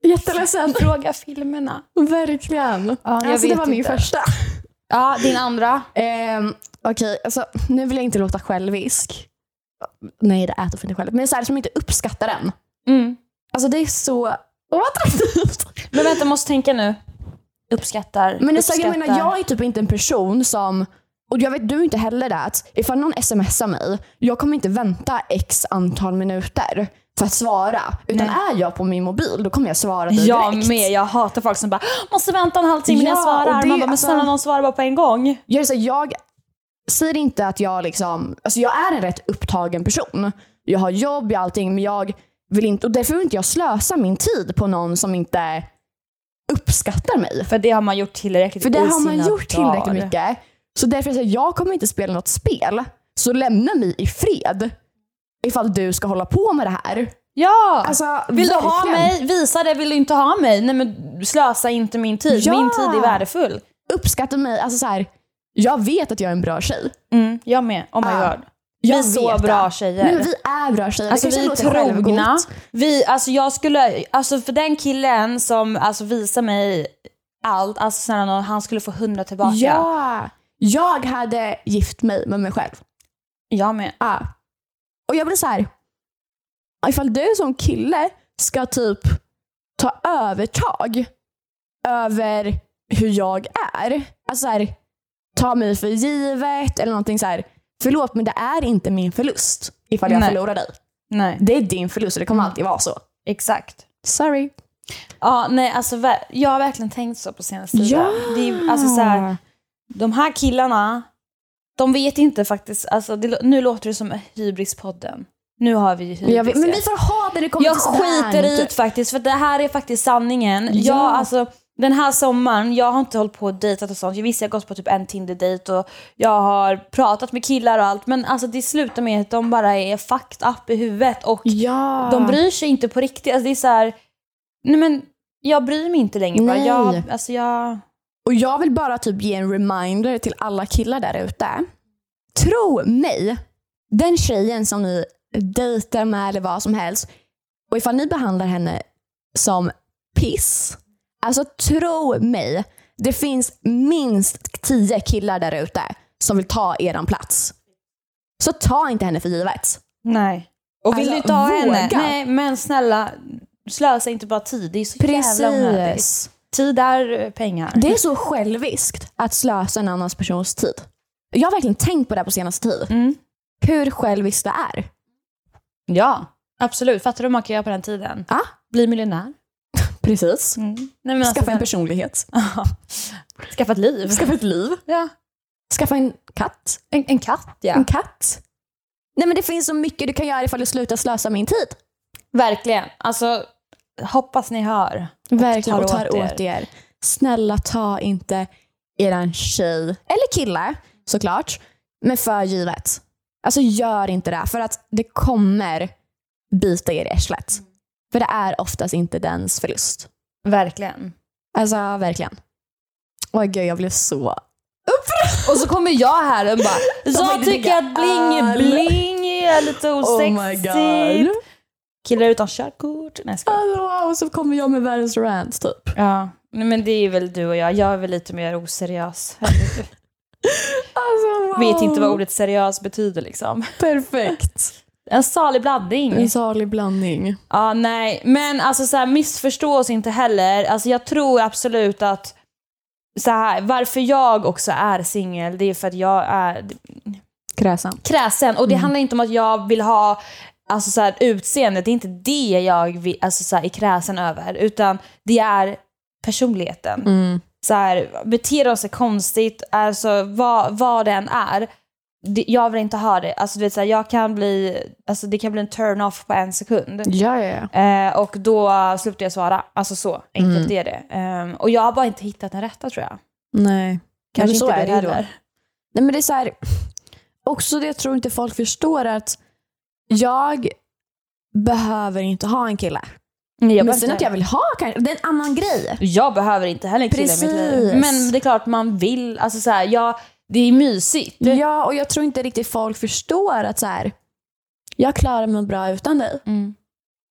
S2: Jätteledsen.
S1: fråga filmerna.
S2: Verkligen.
S1: Ja, jag
S2: alltså det
S1: vet
S2: var min
S1: inte.
S2: första.
S1: Ja, din andra.
S2: Ehm, Okej, alltså, nu vill jag inte låta självisk. Nej, det äter för inte själv. Men så här som inte uppskattar den.
S1: Mm.
S2: Alltså det är så oattraktivt.
S1: Men vänta, måste tänka nu. Uppskattar.
S2: Men det är så, jag
S1: uppskattar.
S2: menar, jag är typ inte en person som, och jag vet du är inte heller det, att ifall någon smsar mig, jag kommer inte vänta x antal minuter för att svara. Utan
S1: Nej.
S2: är jag på min mobil, då kommer jag svara direkt.
S1: Jag med, jag hatar folk som bara “måste vänta en halvtimme innan jag
S2: Ja,
S1: svarar”.
S2: och det-
S1: Man bara, men
S2: alltså-
S1: snälla någon svarar bara på en gång.
S2: Jag, är så, här, jag säger inte att jag liksom, alltså jag är en rätt upptagen person. Jag har jobb, jag har allting, men jag vill inte, och därför vill inte jag slösa min tid på någon som inte uppskattar mig.
S1: För det har man gjort tillräckligt
S2: För det
S1: i
S2: har man
S1: sina
S2: gjort tillräckligt
S1: dagar.
S2: mycket. Så därför säger jag, jag kommer inte spela något spel. Så lämna mig i fred. Ifall du ska hålla på med det här.
S1: Ja!
S2: Alltså,
S1: vill du ha
S2: verkligen.
S1: mig? Visa det. Vill du inte ha mig? Nej men slösa inte min tid.
S2: Ja.
S1: Min tid är värdefull.
S2: Uppskatta mig. Alltså så här, jag vet att jag är en bra tjej.
S1: Mm, jag med. Oh my
S2: Ja.
S1: god.
S2: Jag
S1: Vi är så
S2: vet
S1: bra
S2: det.
S1: tjejer.
S2: Nej, men vi är bra tjejer. Det
S1: Alltså
S2: kanske
S1: vi är
S2: låter
S1: trogna.
S2: självgott.
S1: Vi, alltså jag skulle, alltså för den killen som alltså visar mig allt, alltså snälla nån, han skulle få hundra tillbaka.
S2: Ja. Jag hade gift mig med mig själv.
S1: Jag med.
S2: Ja. Och jag blir så här. Ifall du som kille ska typ ta övertag över hur jag är. Alltså så här, ta mig för givet eller någonting så här. Förlåt men det är inte min förlust ifall jag
S1: Nej. Mm.
S2: förlorar dig.
S1: Nej,
S2: Det är din förlust och det kommer alltid vara så.
S1: exakt.
S2: Sorry.
S1: Ja, nej alltså ver- jag har verkligen tänkt så på senaste tiden. Det är, alltså så här, de här killarna, de vet inte faktiskt, alltså det, lå- nu låter det som hybrispodden. Nu har vi ju hybris.
S2: jag vet, men
S1: igen.
S2: vi får ha det när det kommer
S1: jag
S2: till sånt här.
S1: skiter i det faktiskt, för det här är faktiskt sanningen. Jag,
S2: Ja.
S1: alltså, den här sommaren, jag har inte hållit på och dejtat och sånt. Jag visste jag har gått på typ en Tinder-dejt och jag har pratat med killar och allt. Men alltså det slutar med att de bara är fucked up i huvudet och
S2: Ja.
S1: de bryr sig inte på riktigt. Alltså, det är så här, nej men jag bryr mig inte längre. bara.
S2: Nej.
S1: Jag, alltså, jag,
S2: Och jag vill bara typ ge en reminder till alla killar där ute. Tro mig, den tjejen som ni dejtar med eller vad som helst och ifall ni behandlar henne som piss, alltså tro mig, det finns minst tio killar där ute som vill ta eran plats. Så ta inte henne för givet.
S1: nej. Och vill
S2: Alltså,
S1: du inte ha henne?
S2: våga.
S1: Nej men snälla, slösa inte bara tid. Det är så jävla onödigt.
S2: Precis.
S1: Tid är eh, pengar.
S2: Det är så själviskt att slösa en annans persons tid. Jag har verkligen tänkt på det här på senaste tid.
S1: Mm.
S2: Hur själviskt det är.
S1: Ja, absolut. Fattar du hur man kan göra på den tiden?
S2: Ja.
S1: Bli miljonär.
S2: Precis.
S1: Nej, men
S2: Skaffa en
S1: alltså,
S2: personlighet.
S1: Skaffa ett liv.
S2: Skaffa ett liv.
S1: Ja.
S2: Skaffa en katt.
S1: En, en katt, ja.
S2: En katt. Nej men det finns så mycket du kan göra ifall du slutar slösa min tid.
S1: Verkligen. Alltså, hoppas ni hör.
S2: Verkligen.
S1: tar
S2: Och tar
S1: åt er.
S2: åt er. Snälla ta inte eran tjej, eller kille såklart, men för givet. Alltså gör inte det, för att det kommer bita er i arslet.
S1: Mm.
S2: För det är oftast inte dens förlust.
S1: Verkligen.
S2: Alltså verkligen. Åh gud, jag blev så...
S1: Och så kommer jag här och bara,
S2: har
S1: jag
S2: inte
S1: tycker att
S2: dricka
S1: bling
S2: öl."
S1: bling är lite
S2: Oh
S1: osexigt. Killar utan körkort. Nej, jag skojar.
S2: Alltså, och så kommer jag med världens rant typ.
S1: Ja, Nej, men det är väl du och jag. Jag är väl lite mer oseriös.
S2: Alltså, wow.
S1: Vet inte vad ordet seriös betyder liksom.
S2: Perfekt.
S1: En salig blandning.
S2: En salig blandning.
S1: Ja, nej. Men alltså så här, missförstå oss inte heller. Alltså jag tror absolut att så här, varför jag också är singel, det är för att jag är
S2: Kräsen. Mm.
S1: kräsen. Och det handlar inte om att jag vill ha alltså så här, utseendet, det är inte det jag vi- alltså så här, är kräsen över, utan det är personligheten.
S2: Mm.
S1: Så här, beter de sig konstigt, alltså, vad, vad det än är, det, jag vill inte ha det. Alltså, du vet, så här, jag kan bli, alltså, det kan bli en turn-off på en sekund.
S2: Ja, ja, ja.
S1: Eh, och då slutade jag svara. Alltså så enkelt
S2: Mm.
S1: är det. Ehm, och jag har bara inte hittat den rätta tror jag.
S2: Nej.
S1: Kanske
S2: men så
S1: inte
S2: är
S1: du
S2: det ju då.
S1: heller.
S2: Nej men det är så här, också det jag tror inte folk förstår är att jag behöver inte ha en kille.
S1: Nej, Jag,
S2: men
S1: behöver
S2: sen att
S1: inte,
S2: jag vill ha kanske, det är en annan grej.
S1: jag behöver inte heller en kille i mitt liv.
S2: Precis.
S1: Men det är klart man vill. Alltså så här, ja, det är mysigt.
S2: Ja, och jag tror inte riktigt folk förstår att så här, jag klarar mig bra utan dig.
S1: Mm.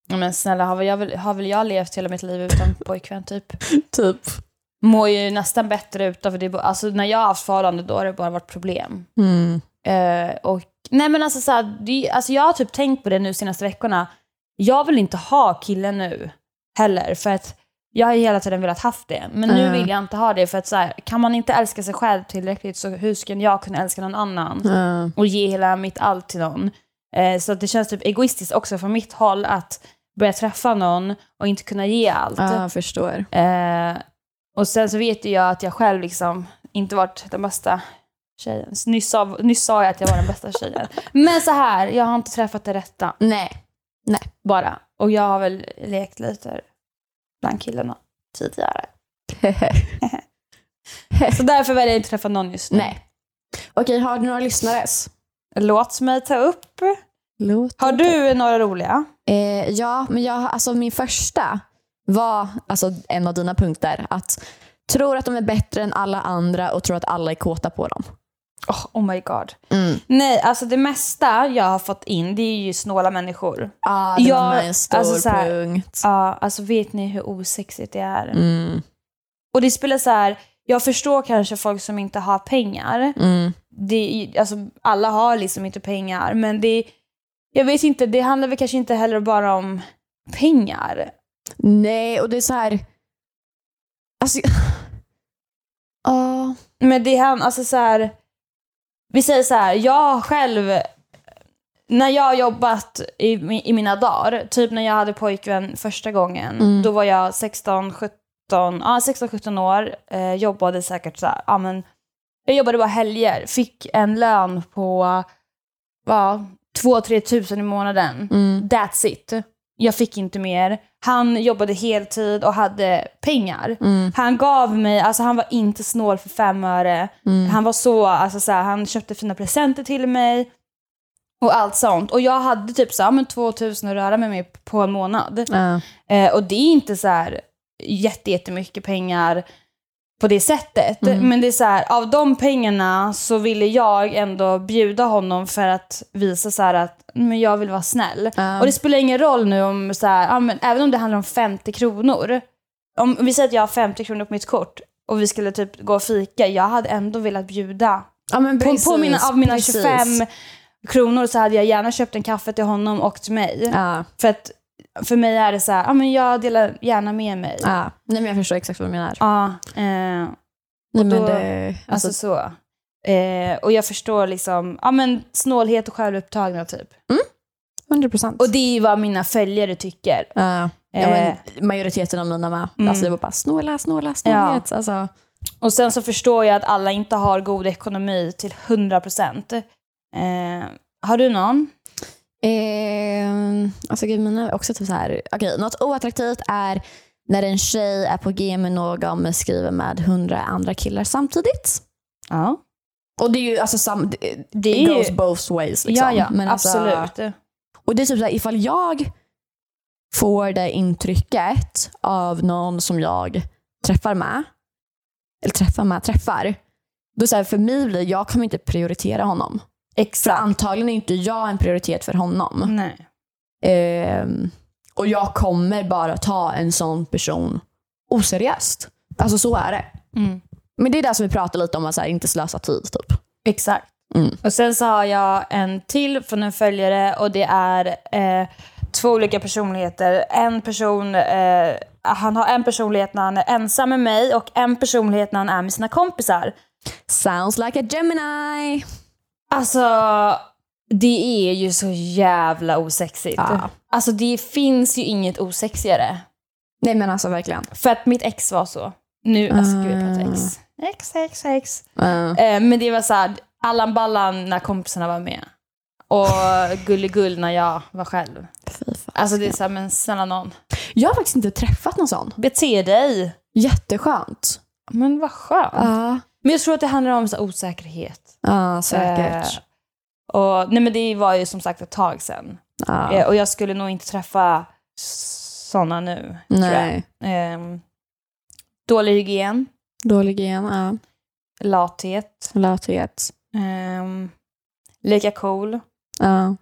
S1: Ja, Men snälla, har väl, jag, väl- har väl jag levt hela mitt liv utan pojkvän typ?
S2: Typ. för
S1: Mår ju nästan bättre utav det. är bara- Alltså när jag har haft förhållande då har det bara varit problem.
S2: Mm.
S1: Eh, och, nej men alltså, så här, det, alltså jag har typ tänkt på det nu senaste veckorna. Jag vill inte ha killen nu heller för att jag har ju hela tiden velat haft det. Men nu
S2: Mm.
S1: vill jag inte ha det för att så här, kan man inte älska sig själv tillräckligt så hur ska jag kunna älska någon annan?
S2: Mm.
S1: Och ge hela mitt allt till någon. Eh, så att det känns typ egoistiskt också från mitt håll att börja träffa någon och inte kunna ge allt.
S2: Ja, jag förstår.
S1: Eh, och sen så vet ju jag att jag själv liksom inte varit den bästa tjejen. Så Nyss sa, nyss sa jag att jag var den bästa tjejen. Men så här, jag har inte träffat det rätta
S2: Nej.
S1: bara. Och jag har väl lekt lite bland killarna tidigare. Så därför väljer jag inte att träffa någon just nu.
S2: Nej. Okej, har du några lyssnares?
S1: Låt mig ta upp.
S2: Låt
S1: Har du några roliga?
S2: Eh, ja, men jag, alltså min första var alltså, en av dina punkter. Att tror att de är bättre än alla andra och tror att alla är kåta på dem.
S1: Oh, oh my god. Nej, alltså det mesta jag har fått in det är ju snåla människor.
S2: Ah, det var
S1: Ja,
S2: en stor
S1: alltså så här-
S2: punkt.
S1: Ja, alltså vet ni hur osexigt det är?
S2: Mm,
S1: Och det spelar så här, jag förstår kanske folk som inte har pengar.
S2: mm,
S1: Det, är- alltså, alla har liksom inte pengar, men det, jag vet inte, det handlar väl kanske inte heller bara om pengar.
S2: Nej, och det är så här... Alltså... Ja,
S1: Men det han, alltså så här, vi säger så här, jag själv, när jag har jobbat i, mi- i mina dagar, typ när jag hade pojkvän första gången,
S2: Mm.
S1: då var jag 16, 17, ja 16, 17 år, eh, jobbade säkert så här, ja men, jag jobbade bara helger, fick en lön på, ja, 2-3 tusen i månaden.
S2: mm,
S1: That's it. Jag fick inte mer. Han jobbade heltid och hade pengar.
S2: mm,
S1: Han gav mig, alltså han var inte snål för fem öre.
S2: mm,
S1: Han var så, alltså så här, han köpte fina presenter till mig. Och allt sånt. Och jag hade typ så här, men 2000 att röra mig med på en månad.
S2: ja,
S1: Eh, och det är inte så här jätte, jättemycket pengar på det sättet.
S2: Mm.
S1: Men det är så här, av de pengarna så ville jag ändå bjuda honom för att visa så här att men jag vill vara snäll.
S2: ja.
S1: Och det spelar ingen roll nu om så här, ja, men även om det handlar om 50 kronor. Om vi säger att jag har 50 kronor på mitt kort och vi skulle typ gå och fika, jag hade ändå velat bjuda.
S2: Ja, men
S1: På, på
S2: precis,
S1: mina, av mina
S2: precis.
S1: 25 kronor så hade jag gärna köpt en kaffe till honom och till mig.
S2: Ja,
S1: För att för mig är det så här, ja men jag delar gärna med mig. Ja,
S2: ja. Nej, men jag förstår exakt vad du menar.
S1: eh,
S2: Nej,
S1: då-
S2: men det,
S1: alltså,
S2: alltså,
S1: så. Eh, och jag förstår liksom, ja men snålhet och självupptagna typ.
S2: 100 procent.
S1: Och det är ju vad mina följare tycker.
S2: Ja. Ja,
S1: Eh,
S2: men majoriteten av mina med.
S1: Mm.
S2: Alltså det var bara snåla, snåla, snålhet. Alltså,
S1: Och sen så förstår jag att alla inte har god ekonomi till 100%. Eh, har du någon?
S2: eh, alltså gud, mina är också typ så här. Okej, något oattraktivt är när en tjej är på G med någon men skriver med hundra andra killar samtidigt.
S1: Ja.
S2: Och det är ju alltså sam, det,
S1: Det
S2: it
S1: är
S2: goes
S1: ju...
S2: both ways. Liksom.
S1: Ja, ja,
S2: Men alltså-
S1: absolut.
S2: Och det är typ så här, ifall jag får det intrycket av någon som jag träffar med, eller träffar med, träffar, då så här, för mig blir jag kommer inte prioritera honom. För
S1: Exakt.
S2: antagligen är inte jag en prioritet för honom.
S1: Nej.
S2: Ehm, och jag kommer bara ta en sån person oseriöst. Alltså så är det.
S1: Mm.
S2: Men det är det som vi pratar lite om, att så här, inte slösa tid. Typ.
S1: Exakt.
S2: Mm.
S1: Och sen så har jag en till från en följare och det är eh, två olika personligheter. En person, eh, han har en personlighet när han är ensam med mig och en personlighet när han är med sina kompisar.
S2: Sounds like a Gemini.
S1: Alltså, Det är ju så jävla osexigt.
S2: Ja.
S1: Alltså det finns ju inget osexigare.
S2: Nej men alltså verkligen.
S1: För att mitt ex var så. Nu, alltså
S2: Ah.
S1: gud jag pratar ex. Ex, ex, ex.
S2: Eh,
S1: Eh, men det var så här, Allan Ballan när kompisarna var med. Och Gulligull när jag var själv.
S2: fy fan.
S1: Alltså det är så här, men snälla någon.
S2: Jag har faktiskt inte träffat någon sån.
S1: Bete dig.
S2: Jätteskönt.
S1: Men vad skönt.
S2: Ja,
S1: Men jag tror att det handlar om så här, osäkerhet.
S2: ja säkert.
S1: Eh, och, nej men det var ju som sagt ett tag sedan.
S2: Ja.
S1: Eh, och jag skulle nog inte träffa sådana nu. Tror jag.
S2: Nej,
S1: Ehm, dålig hygien,
S2: dålig gen, ja.
S1: lathet,
S2: Lathet.
S1: ehm, leka cool,
S2: Ja.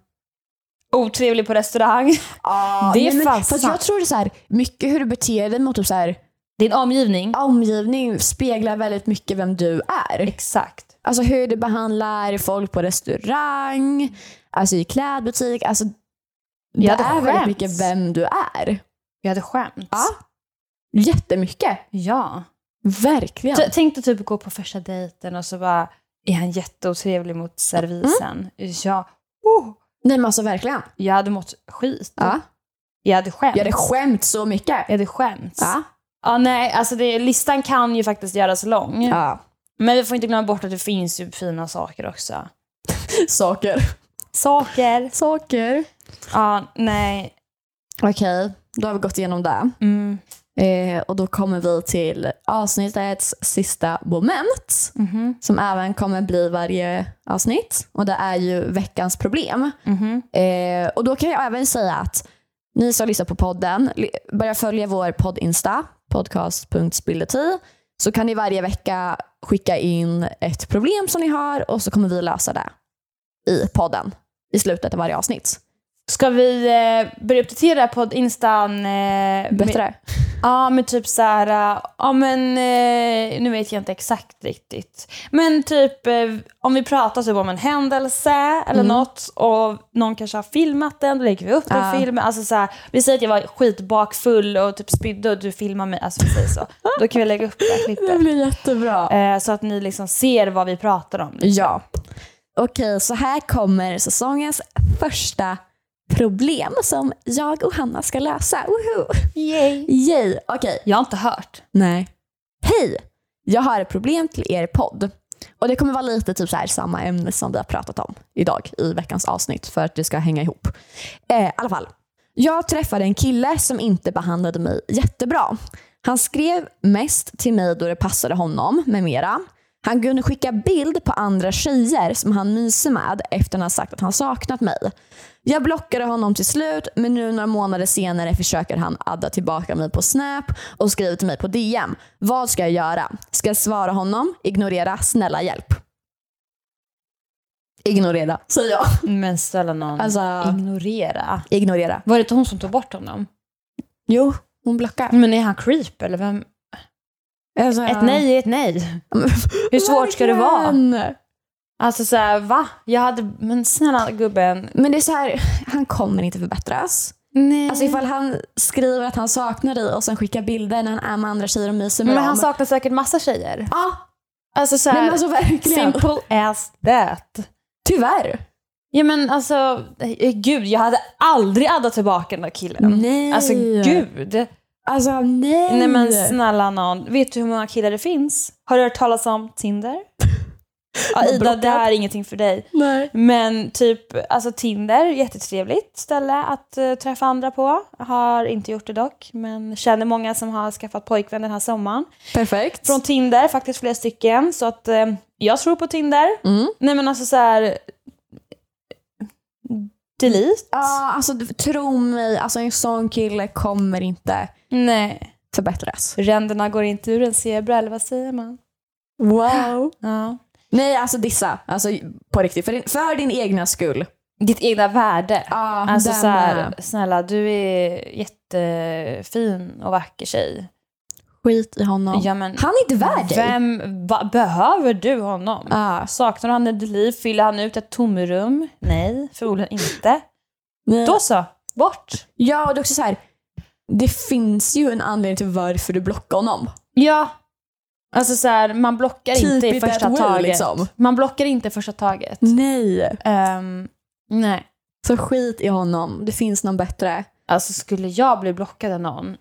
S1: otrevlig på restaurang.
S2: Ah,
S1: Det är
S2: nej, men-
S1: fan
S2: Fast
S1: sant.
S2: jag tror det är så här, mycket hur du beter dig mot typ så här,
S1: Din omgivning.
S2: omgivning speglar väldigt mycket vem du är.
S1: Exakt.
S2: Alltså hur du behandlar folk på restaurang, alltså i klädbutik. Alltså, det
S1: Jag hade
S2: är väldigt
S1: skämts.
S2: mycket vem du är.
S1: Jag hade skämt.
S2: Ja. Jättemycket.
S1: ja.
S2: Verkligen.
S1: T- Tänk dig typ gå på första dejten och så bara är han jätteotrevlig mot servisen. Ja. Oh,
S2: Nej men alltså verkligen.
S1: jag hade mått skit.
S2: Ja.
S1: Jag hade skämt.
S2: Jag hade skämt så mycket.
S1: Jag hade skämts.
S2: Ja.
S1: Ja, nej, alltså det, listan kan ju faktiskt göras lång.
S2: ja.
S1: Men vi får inte glömma bort att det finns ju fina saker också.
S2: Saker.
S1: Saker.
S2: Saker.
S1: Ja, nej.
S2: Okej, då har vi gått igenom det.
S1: Mm.
S2: Eh, och då kommer vi till avsnittets sista moment.
S1: mhm,
S2: Som även kommer bli varje avsnitt. Och det är ju veckans problem.
S1: mhm.
S2: Eh, och då kan jag även säga att ni som lyssnar på podden, li- börja följa vår poddinsta, podcast.spilleti, så kan ni varje vecka skicka in ett problem som ni har och så kommer vi lösa det i podden i slutet av varje avsnitt.
S1: Ska vi eh, börja uppdatera podd-instan? Eh, Med,
S2: Bättre?
S1: ja, men typ så här... eh, Ja, men eh, nu vet jag inte exakt riktigt. Men typ eh, om vi pratar typ om en händelse
S2: Mm.
S1: eller något och någon kanske har filmat den, då lägger vi upp den
S2: Ja.
S1: filmen. Alltså så här, vi säger att jag var skitbakfull och typ spydde och du filmar mig. Alltså vi säger så. Då kan vi lägga upp det här klippet.
S2: blir jättebra.
S1: Eh, så att ni liksom ser vad vi pratar om.
S2: Ja. Okej, så här kommer säsongens första problem som jag och Hanna ska lösa. Woho!
S1: Yay.
S2: Yay! Okej.
S1: Jag har inte hört.
S2: Nej. Hej! Jag har ett problem till er podd. Och det kommer vara lite typ så här samma ämne som vi har pratat om idag i veckans avsnitt för att det ska hänga ihop. Eh, I alla fall. Jag träffade en kille som inte behandlade mig jättebra. Han skrev mest till mig då det passade honom med mera. Han kunde skicka bild på andra tjejer som han myser med efter han sagt att han saknat mig. Jag blockade honom till slut men nu några månader senare försöker han adda tillbaka mig på Snap och skriver till mig på DM. Vad ska jag göra? Ska jag svara honom? Ignorera? Snälla hjälp. Ignorera, säger jag.
S1: Men snälla någon.
S2: Alltså,
S1: Ignorera.
S2: ignorera.
S1: Var det inte hon som tog bort honom?
S2: Jo, hon blockar.
S1: Men är han creep eller vem?
S2: Alltså,
S1: Ett nej är ett nej. Hur svårt ska det vara?
S2: Verkligen.
S1: Alltså såhär, va? Jag hade, men snälla gubben.
S2: Men det är så här, han kommer inte förbättras.
S1: Nej.
S2: Alltså ifall han skriver att han saknar dig och sen skickar bilder när han är med andra tjejer och myser med
S1: men
S2: dem.
S1: han saknar säkert massa tjejer.
S2: Ja,
S1: Alltså
S2: nej, men
S1: såhär,
S2: alltså verkligen.
S1: simple as that.
S2: Tyvärr.
S1: Ja men alltså, eh, gud jag hade aldrig addat tillbaka den där killen.
S2: Nej.
S1: Alltså gud.
S2: Alltså Mm. nej.
S1: Nej men snälla någon. Vet du hur många killar det finns? Har du hört talas om Tinder? Ja, Ida,
S2: Blockad.
S1: det här är ingenting för dig.
S2: nej.
S1: Men typ, alltså Tinder, jättetrevligt ställe att eh, träffa andra på. Har inte gjort det dock, men känner många som har skaffat pojkvän den här sommaren.
S2: Perfekt.
S1: Från Tinder, faktiskt flera stycken. Så att eh, jag tror på Tinder.
S2: Mm.
S1: Nej men alltså så här. Delete?
S2: Ja, alltså du- tro mig, alltså en sån kille kommer inte
S1: Nej.
S2: förbättras.
S1: Ränderna går inte ur en zebra, eller vad säger man?
S2: Wow.
S1: Ja.
S2: Nej, alltså dissa. Alltså på riktigt, för din, för din egna skull.
S1: Ditt egna värde.
S2: Ah,
S1: Alltså så här, snälla du är jättefin och vacker tjej.
S2: skit i honom.
S1: Ja, men,
S2: Han är inte värd dig.
S1: Vem, va, behöver du honom?
S2: Ah,
S1: Saknar han ett liv? Fyller han ut ett tomrum? Nej, förmodligen inte.
S2: nej.
S1: Då så, bort!
S2: Ja, och det är också så här. Det finns ju en anledning till varför du blockar honom.
S1: Ja. Alltså så här, man blockar
S2: Keep
S1: inte Typ i
S2: it
S1: första
S2: that way,
S1: taget.
S2: liksom.
S1: Mm. Man blockar inte i första taget.
S2: Nej.
S1: Ehm, Nej.
S2: Så skit i honom. Det finns någon bättre.
S1: Alltså skulle jag bli blockad av någon,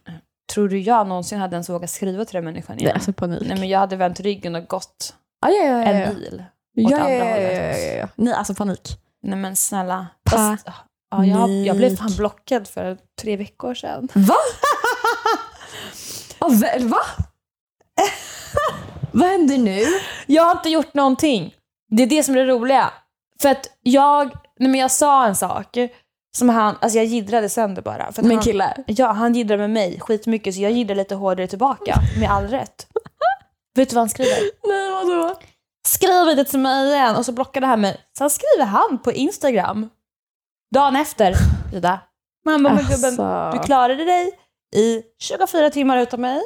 S1: tror du jag någonsin hade ens vågat skriva till den människan
S2: Det är
S1: igen?
S2: alltså panik.
S1: Nej men jag hade vänt ryggen och gått
S2: Ah, ja, ja, ja, ja.
S1: en bil.
S2: Ja,
S1: åt
S2: ja,
S1: andra
S2: ja, ja,
S1: hållet.
S2: ja, ja, ja. Nej, alltså panik.
S1: Nej men snälla.
S2: Panik.
S1: Fast, ja, jag, jag blev fan blockad för tre veckor sedan.
S2: Va? Ah, väl, va? Vad händer nu?
S1: Jag har inte gjort någonting. Det är det som är det roliga. För att jag, nej men jag sa en sak som han, alltså jag jiddrade sönder bara. För att
S2: Min
S1: han,
S2: kille.
S1: ja, han jiddrade med mig skitmycket så jag jiddrade lite hårdare tillbaka, med all rätt. Vet du vad han skriver?
S2: Nej, vadå?
S1: Skriv inte till mig igen och så blockade han mig. Sen skriver han på Instagram dagen efter, Ida. Mamma men
S2: Alltså.
S1: gubben, du klarade dig i 24 timmar utan mig.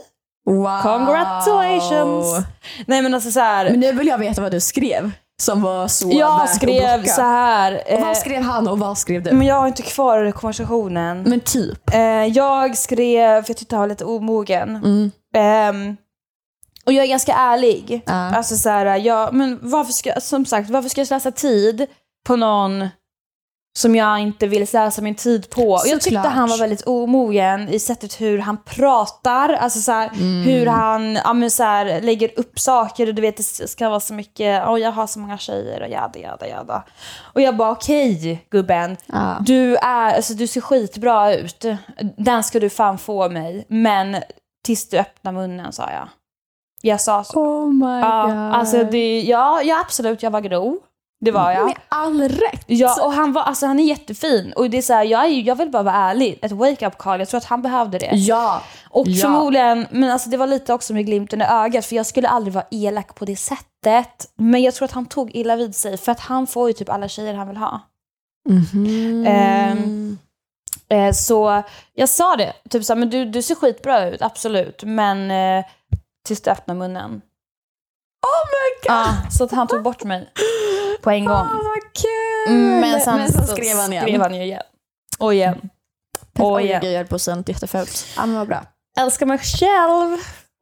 S2: Wow.
S1: Congratulations! Nej men alltså så här.
S2: Alltså. Men nu vill jag veta vad du skrev som var så värt
S1: Jag
S2: att
S1: skrev
S2: blocka.
S1: så här.
S2: Och
S1: eh,
S2: vad skrev han och vad skrev du?
S1: men jag har inte kvar konversationen.
S2: Men typ.
S1: Eh, jag skrev, för jag tyckte han var lite omogen.
S2: Mm.
S1: Ehm, och jag är ganska ärlig.
S2: Ja.
S1: Alltså så här, jag, men varför ska, som sagt, varför ska jag slösa tid på någon som jag inte vill slösa min tid på? Och jag tyckte
S2: Såklart.
S1: han var väldigt omogen i sättet hur han pratar, alltså så här,
S2: Mm.
S1: hur han ja, men så här, lägger upp saker och du vet det ska vara så mycket, åh jag har så många tjejer och jada jada jada. Och jag bara okej gubben,
S2: Ja.
S1: du, är, alltså, du ser skitbra ut, den ska du fan få mig, men tills du öppnar munnen sa jag. Jag sa så.
S2: Oh my
S1: Ja, Mm.
S2: god.
S1: alltså det, ja, ja, absolut, jag var grov. Det var jag.
S2: Med all rätt.
S1: Ja, och han, var, alltså, han är jättefin. Och det är så här, jag, är, ju- jag vill bara vara ärlig. Ett wake-up call, jag tror att han behövde det.
S2: ja.
S1: Och
S2: Ja.
S1: förmodligen, men alltså det var lite också med glimten i ögat för jag skulle aldrig vara elak på det sättet. Men jag tror att han tog illa vid sig för att han får ju typ alla tjejer han vill ha.
S2: Mm-hmm.
S1: Ehm, Eh, så jag sa det, typ såhär, men du, du ser skitbra ut, absolut. Men eh, tills du öppnar munnen.
S2: Oh my god.
S1: Ja, så att han tog bort mig på en gång.
S2: Ah, vad kul.
S1: Mm, Men sen,
S2: Men sen
S1: så
S2: skrev han igen.
S1: skrev han ju igen. Och igen.
S2: Oj,
S1: Och
S2: Oj,
S1: igen.
S2: jag höll på att säga något jättefult. Ja, men vad bra.
S1: Älskar mig själv.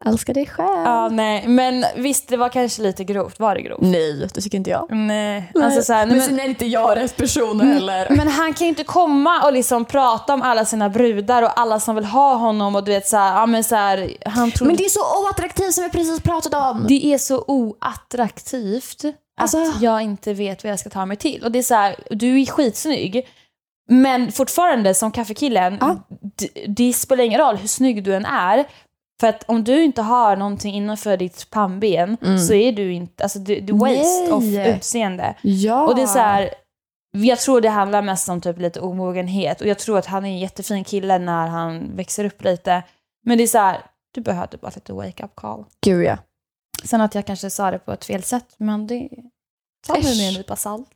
S2: Älskar dig själv.
S1: Ja, nej. Men visst, det var kanske lite grovt. Var det grovt?
S2: Nej, det tycker inte jag.
S1: Nej. Alltså, så här, nej
S2: men Mm. sen
S1: men,
S2: är inte jag rätt person heller.
S1: men han kan ju inte komma och liksom prata om alla sina brudar och alla som vill ha honom och du vet så här, ja men så här, han tror...
S2: Men det är så oattraktivt som vi precis pratat om.
S1: Det är så oattraktivt
S2: Alltså-
S1: att jag inte vet vad jag ska ta mig till. Och det är så här, du är skitsnygg, men fortfarande som kaffekillen,
S2: Ja.
S1: d- det spelar ingen roll hur snygg du än är. För att om du inte har någonting innanför ditt pannben så är du inte, alltså du, du waste
S2: Mm. Nej. Ah.
S1: of utseende.
S2: Ja.
S1: Och det är så här, jag tror det handlar mest om typ lite omogenhet och jag tror att han är en jättefin kille när han växer upp lite. Men det är så här, du behövde bara lite wake-up call.
S2: Gud ja.
S1: Sen att jag kanske sa det på ett fel sätt, men det tar
S2: Äsch.
S1: man med en nypa salt.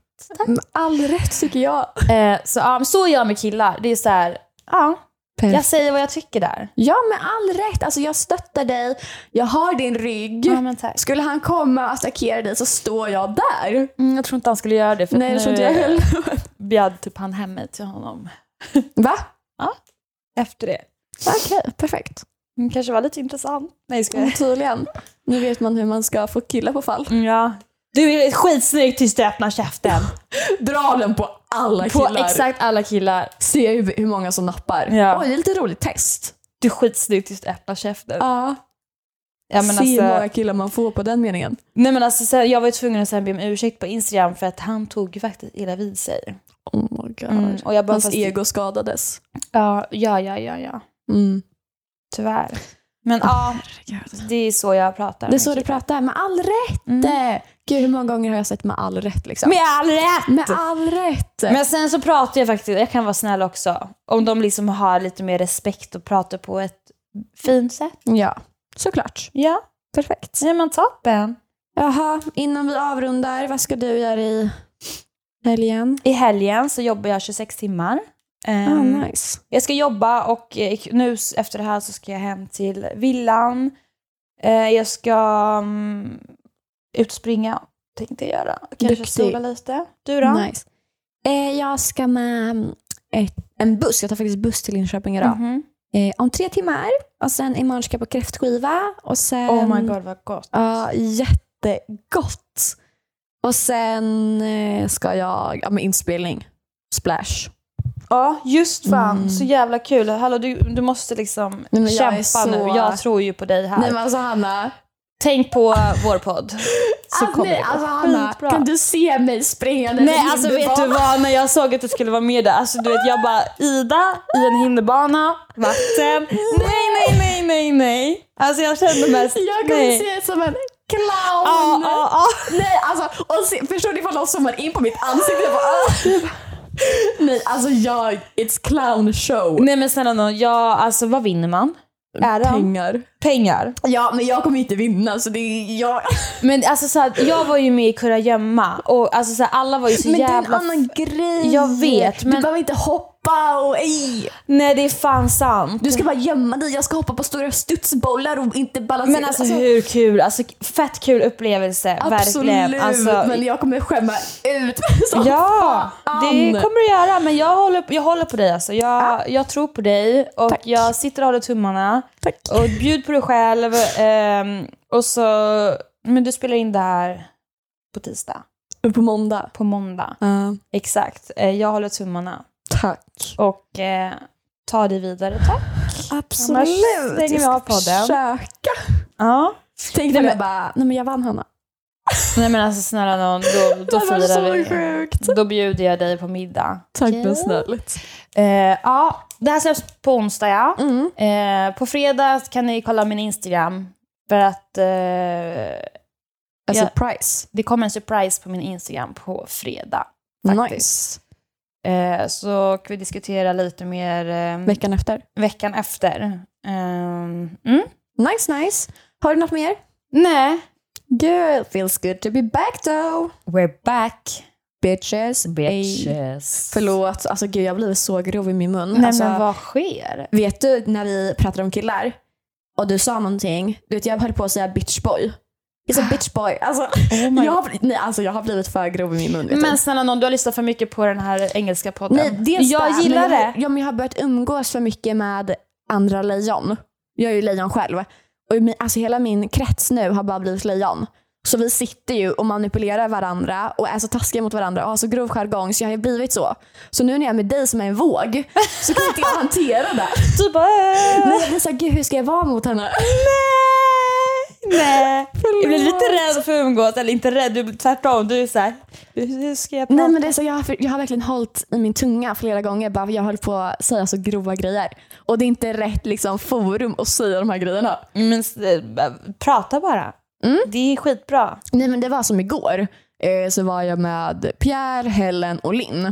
S2: Med all rätt tycker jag.
S1: Eh, så, ja, men så gör jag med killar. Det är så här, ja,
S2: Eh.
S1: jag säger vad jag tycker där.
S2: Ja, med all rätt. Alltså jag stöttar dig. Jag har din rygg.
S1: Ja, men tack.
S2: Skulle han komma och attackera dig så står jag där.
S1: Mm, jag tror inte han skulle göra det, för
S2: Nej,
S1: nu
S2: det tror inte jag heller.
S1: bjöd typ han hem mig till honom
S2: Va?
S1: efter det.
S2: Okej, perfekt.
S1: Mm, kanske var lite intressant. Nej, ska
S2: Mm,
S1: jag
S2: Tydligen. Nu vet man hur man ska få killar på fall.
S1: mm, ja. Du är skitsnygg tills du öppnar käften.
S2: Dra den på alla
S1: På
S2: killar.
S1: exakt alla killar.
S2: Se hur, hur många som nappar.
S1: Ja.
S2: Oj, det är lite roligt test.
S1: Du är skitsnygg tills du öppnar käften.
S2: Ja.
S1: Ja,
S2: Se
S1: men
S2: hur
S1: alltså,
S2: många killar man får på den meningen.
S1: nej, men alltså, så här, jag var ju tvungen att sen be om ursäkt på Instagram för att han tog ju faktiskt illa vid sig.
S2: Oh my god.
S1: Mm, och jag bara,
S2: Hans
S1: fast-
S2: ego skadades.
S1: Ja, ja, ja, ja, ja.
S2: Mm.
S1: Tyvärr. Men ja, det är så jag pratar.
S2: Det är
S1: med
S2: så du
S1: killar.
S2: pratar, med all rätt. Mm. Gud, hur många gånger har jag sett med all rätt liksom?
S1: Med all rätt!
S2: Med all rätt!
S1: Men sen så pratar jag faktiskt, jag kan vara snäll också. Om de liksom har lite mer respekt och pratar på ett fint sätt.
S2: Ja, såklart.
S1: Ja,
S2: Perfekt.
S1: så är man toppen.
S2: Jaha, innan vi avrundar, vad ska du göra i helgen?
S1: I helgen så jobbar jag 26 timmar.
S2: Ah,
S1: Ehm,
S2: nice.
S1: Jag ska jobba och eh, nu s- efter det här så ska jag hem till villan. Eh, Jag ska mm, utspringa, tänkte jag göra. Kanske
S2: Duktig.
S1: sola lite. Du då?
S2: nice. Eh, jag ska med mm, ett, en buss, jag tar faktiskt buss till Linköping idag.
S1: Mhm.
S2: Eh, om tre timmar och sen imorgon ska jag på kräftskiva och sen...
S1: Oh my god vad gott.
S2: Ja, jättegott. Och sen eh, ska jag, ja men inspelning. splash.
S1: Ja, just fan. Så jävla kul. Hallå, du, du måste liksom
S2: Mm. Nej, men jag
S1: kämpa
S2: är så-
S1: nu. Jag tror ju på dig här.
S2: Nej men alltså Hanna.
S1: Tänk på vår podd. Så
S2: Alltså,
S1: kommer
S2: nej,
S1: det
S2: alltså
S1: gå
S2: Hanna,
S1: skitbra.
S2: kan du se mig springande?
S1: Nej
S2: i
S1: alltså vet du
S2: hinderbana?
S1: vad, när jag såg att du skulle vara med där, alltså du vet jag bara Ida i en hinderbana, vatten,
S2: Mm.
S1: nej nej nej nej nej. Alltså jag kände mest,
S2: Jag kommer
S1: nej. Ah,
S2: se ut som en clown!
S1: Ja,
S2: ah.
S1: ja, ja.
S2: Nej alltså, och se, förstår ni ifall någon zoomar in på mitt ansikte? Jag bara, ah. Nej alltså jag, it's clown show.
S1: Nej men snälla nån, ja alltså vad vinner man? Är det
S2: Pengar.
S1: pengar?
S2: Ja men jag kommer inte vinna så det är jag.
S1: Men alltså så här, jag var ju med i Kurragömma och alltså så här, alla var ju så
S2: Men det är en
S1: jävla...
S2: annan grej.
S1: Jag vet,
S2: Du
S1: men-
S2: behöver inte hoppa och ej.
S1: Nej det är fan sant.
S2: Du ska bara gömma dig, jag ska hoppa på stora studsbollar och inte balansera.
S1: Men alltså hur kul, alltså fett kul upplevelse
S2: Absolut,
S1: verkligen. Alltså,
S2: men jag kommer skämma ut mig som
S1: Ja,
S2: fan.
S1: det kommer du göra. Men jag håller, jag håller på dig alltså. Jag, jag tror på dig och
S2: Ah. Tack.
S1: jag sitter och håller tummarna.
S2: Tack.
S1: Och bjud på dig själv. ehm, och så, men du spelar in det här på tisdag,
S2: På måndag.
S1: på måndag.
S2: Uh,
S1: Exakt. Eh, jag håller tummarna.
S2: tack.
S1: Och eh, ta dig vidare, tack.
S2: Absolut.
S1: Annars stänger vi av
S2: jag
S1: podden.
S2: ska försöka.
S1: Ja.
S2: Tänk
S1: Nej,
S2: om jag
S1: men-
S2: bara, nej men jag vann Hanna.
S1: Nej men alltså snälla någon, då, då
S2: det var
S1: firar
S2: så
S1: vi.
S2: sjukt.
S1: Då bjuder jag dig på middag.
S2: Tack
S1: Okej.
S2: men snällt.
S1: Eh, ja, det här släpps på onsdag ja.
S2: Mm.
S1: Eh, på fredag kan ni kolla min Instagram. För att eh,
S2: A
S1: Ja.
S2: surprise.
S1: det kommer en surprise på min Instagram på fredag.
S2: Nice.
S1: Eh, så kan vi diskutera lite mer eh,
S2: Veckan efter.
S1: veckan efter. Ehm, mm?
S2: Nice nice. Har du något mer?
S1: Nej,
S2: Girl, feels good to be back though.
S1: we're back
S2: Bitches. Ey.
S1: bitches.
S2: Förlåt, alltså gud jag blev så grov i min mun.
S1: Nej
S2: alltså,
S1: men vad sker?
S2: Vet du när vi pratade om killar och du sa någonting, du vet jag höll på att säga bitch boy. Jag sa bitch boy. Alltså,
S1: Oh my
S2: jag, har, bli- nej, alltså jag har blivit för grov i min mun. Vet
S1: Men
S2: du.
S1: snälla någon, du har lyssnat för mycket på den här engelska podden.
S2: nej, dels
S1: jag
S2: det,
S1: gillar
S2: men jag, har-
S1: det.
S2: Ja, men jag har börjat umgås för mycket med andra lejon. Jag är ju lejon själv. Och min, alltså hela min krets nu har bara blivit lejon. Så vi sitter ju och manipulerar varandra och är så taskiga mot varandra och har så grov jargong så jag har ju blivit så. Så nu när jag är med dig som är en våg så kan inte jag hantera det.
S1: Du bara... "Äh,
S2: Men jag blir såhär, gud hur ska jag vara mot henne?
S1: Nej! Nej. Jag blir lite
S2: Förlåt.
S1: rädd för att umgås, eller inte rädd, du blir tvärtom. Du är såhär, hur hur ska jag prata?
S2: Nej men det är så, jag, har, jag har verkligen hållit i min tunga flera gånger. Bara, jag höll på att säga så grova grejer. Och det är inte rätt liksom, forum att säga de här grejerna.
S1: Men Mm. eh, prata bara. Det är skitbra.
S2: Nej men det var som igår. Eh, så var jag med Pierre, Helen och Linn.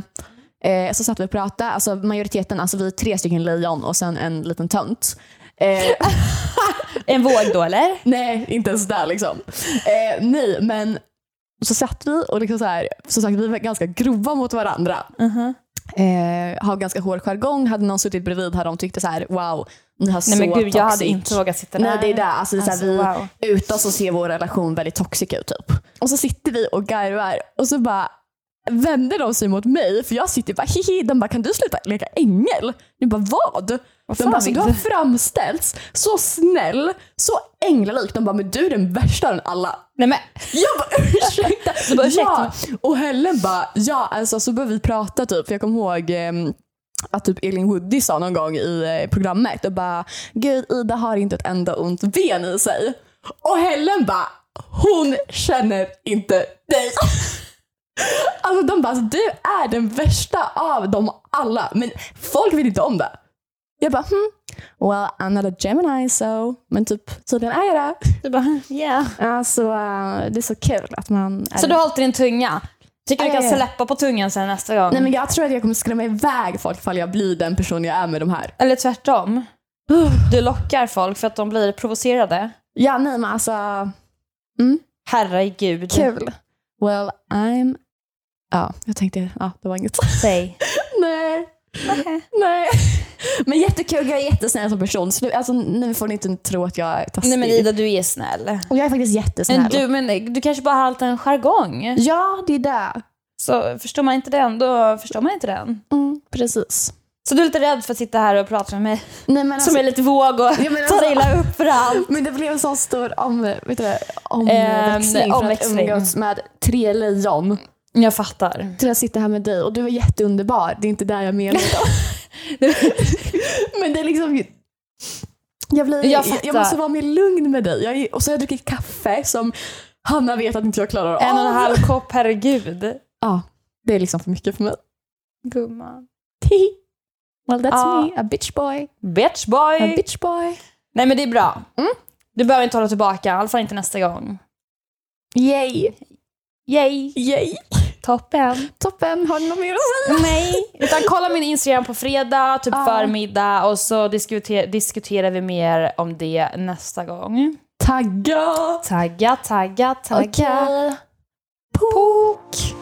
S2: Eh, så satt vi och pratade. Alltså majoriteten, alltså vi är tre stycken lejon och sen en liten tönt. Eh,
S1: En våg då eller?
S2: Nej, inte ens där liksom. Eh, nej, men så satt vi och liksom så här, som sagt, vi var ganska grova mot varandra.
S1: Mhm.
S2: Eh, har ganska hård jargong, hade någon suttit bredvid här de tyckte så här, wow, ni har
S1: Nej
S2: så
S1: men gud, jag hade
S2: toxic."
S1: inte vågat sitta där.
S2: Nej, det är det. Alltså, det är så här, vi,
S1: Alltså, wow.
S2: Utan så ser vår relation väldigt toxic ut typ. Och så sitter vi och garvar och så bara vänder de sig mot mig för jag sitter bara hihi, de bara kan du sluta leka ängel? Jag bara vad? De
S1: fan
S2: bara, så
S1: vill
S2: du har
S1: du?"
S2: framställts så snäll, så änglalik. De bara, men du är den värsta av alla.
S1: Nej men,
S2: Jag bara ursäkta.
S1: Du bara, ursäkta
S2: ja. Och Helen bara ja, alltså så började vi prata typ. För jag kommer ihåg ehm, att typ Elin Woody sa någon gång i eh, programmet och bara gud Ida har inte ett enda ont ben i sig. Och Helen bara hon känner inte dig. Alltså de bara alltså, du är den värsta av dem alla men folk vet inte om det. Jag bara hmm, well I'm not a Gemini so men typ tydligen är jag det.
S1: du bara, yeah.
S2: Alltså, eh, det är så kul att man... Är
S1: Så du har hållit i din tunga? Tycker du
S2: Ja,
S1: kan
S2: ja, ja.
S1: släppa på tungan sen nästa gång?
S2: Nej, men jag tror att jag kommer skrämma iväg folk ifall jag blir den person jag är med de här.
S1: Eller tvärtom? Du lockar folk för att de blir provocerade?
S2: Ja, nej men alltså,
S1: Herregud.
S2: kul. Well, I'm... Ja, jag tänkte, ja, det var inget.
S1: Säg.
S2: nej, nej. Men jättekul, jag är jättesnäll som person. Så nu, alltså, nu får ni inte tro att jag är taskig.
S1: Nej men Ida, du är snäll.
S2: Och jag är faktiskt jättesnäll.
S1: Men du, men du kanske bara har allt en jargong.
S2: Ja, det är det.
S1: Så förstår man inte den, då förstår man inte den.
S2: Mm, precis.
S1: Så du är lite rädd för att sitta här och prata med mig
S2: Nej, men
S1: som är lite våg och
S2: Alltså- Ja, men
S1: tar
S2: alltså-
S1: illa upp för allt.
S2: Men det blev en sån stor om, vet du, det, omväxling för att
S1: omväxling.
S2: umgås med tre lejon
S1: Jag fattar.
S2: till att sitta här med dig och du var jätteunderbar. Det är inte där jag menar. Men det är liksom... Jag, blir,
S1: Jag
S2: jag,
S1: fattar.
S2: jag måste vara mer lugn med dig. Jag, är- och så har jag druckit kaffe som Hanna vet att inte jag klarar av.
S1: En och en halv kopp, herregud.
S2: Ja, det är liksom för mycket för mig.
S1: Gumman.
S2: well that's
S1: Ja.
S2: me, a bitch boy.
S1: Bitch
S2: A
S1: boy.
S2: bitch boy.
S1: Nej men det är bra.
S2: Mm.
S1: Du behöver inte hålla tillbaka, i alla fall inte nästa gång.
S2: Yay.
S1: Yay!
S2: Yay.
S1: Toppen.
S2: Toppen, har ni något mer att säga?
S1: Nej. Utan kolla min Instagram på fredag, typ
S2: Ja.
S1: förmiddag och så diskuter- diskuterar vi mer om det nästa gång.
S2: Tagga!
S1: Tagga, tagga, tagga.
S2: Pok!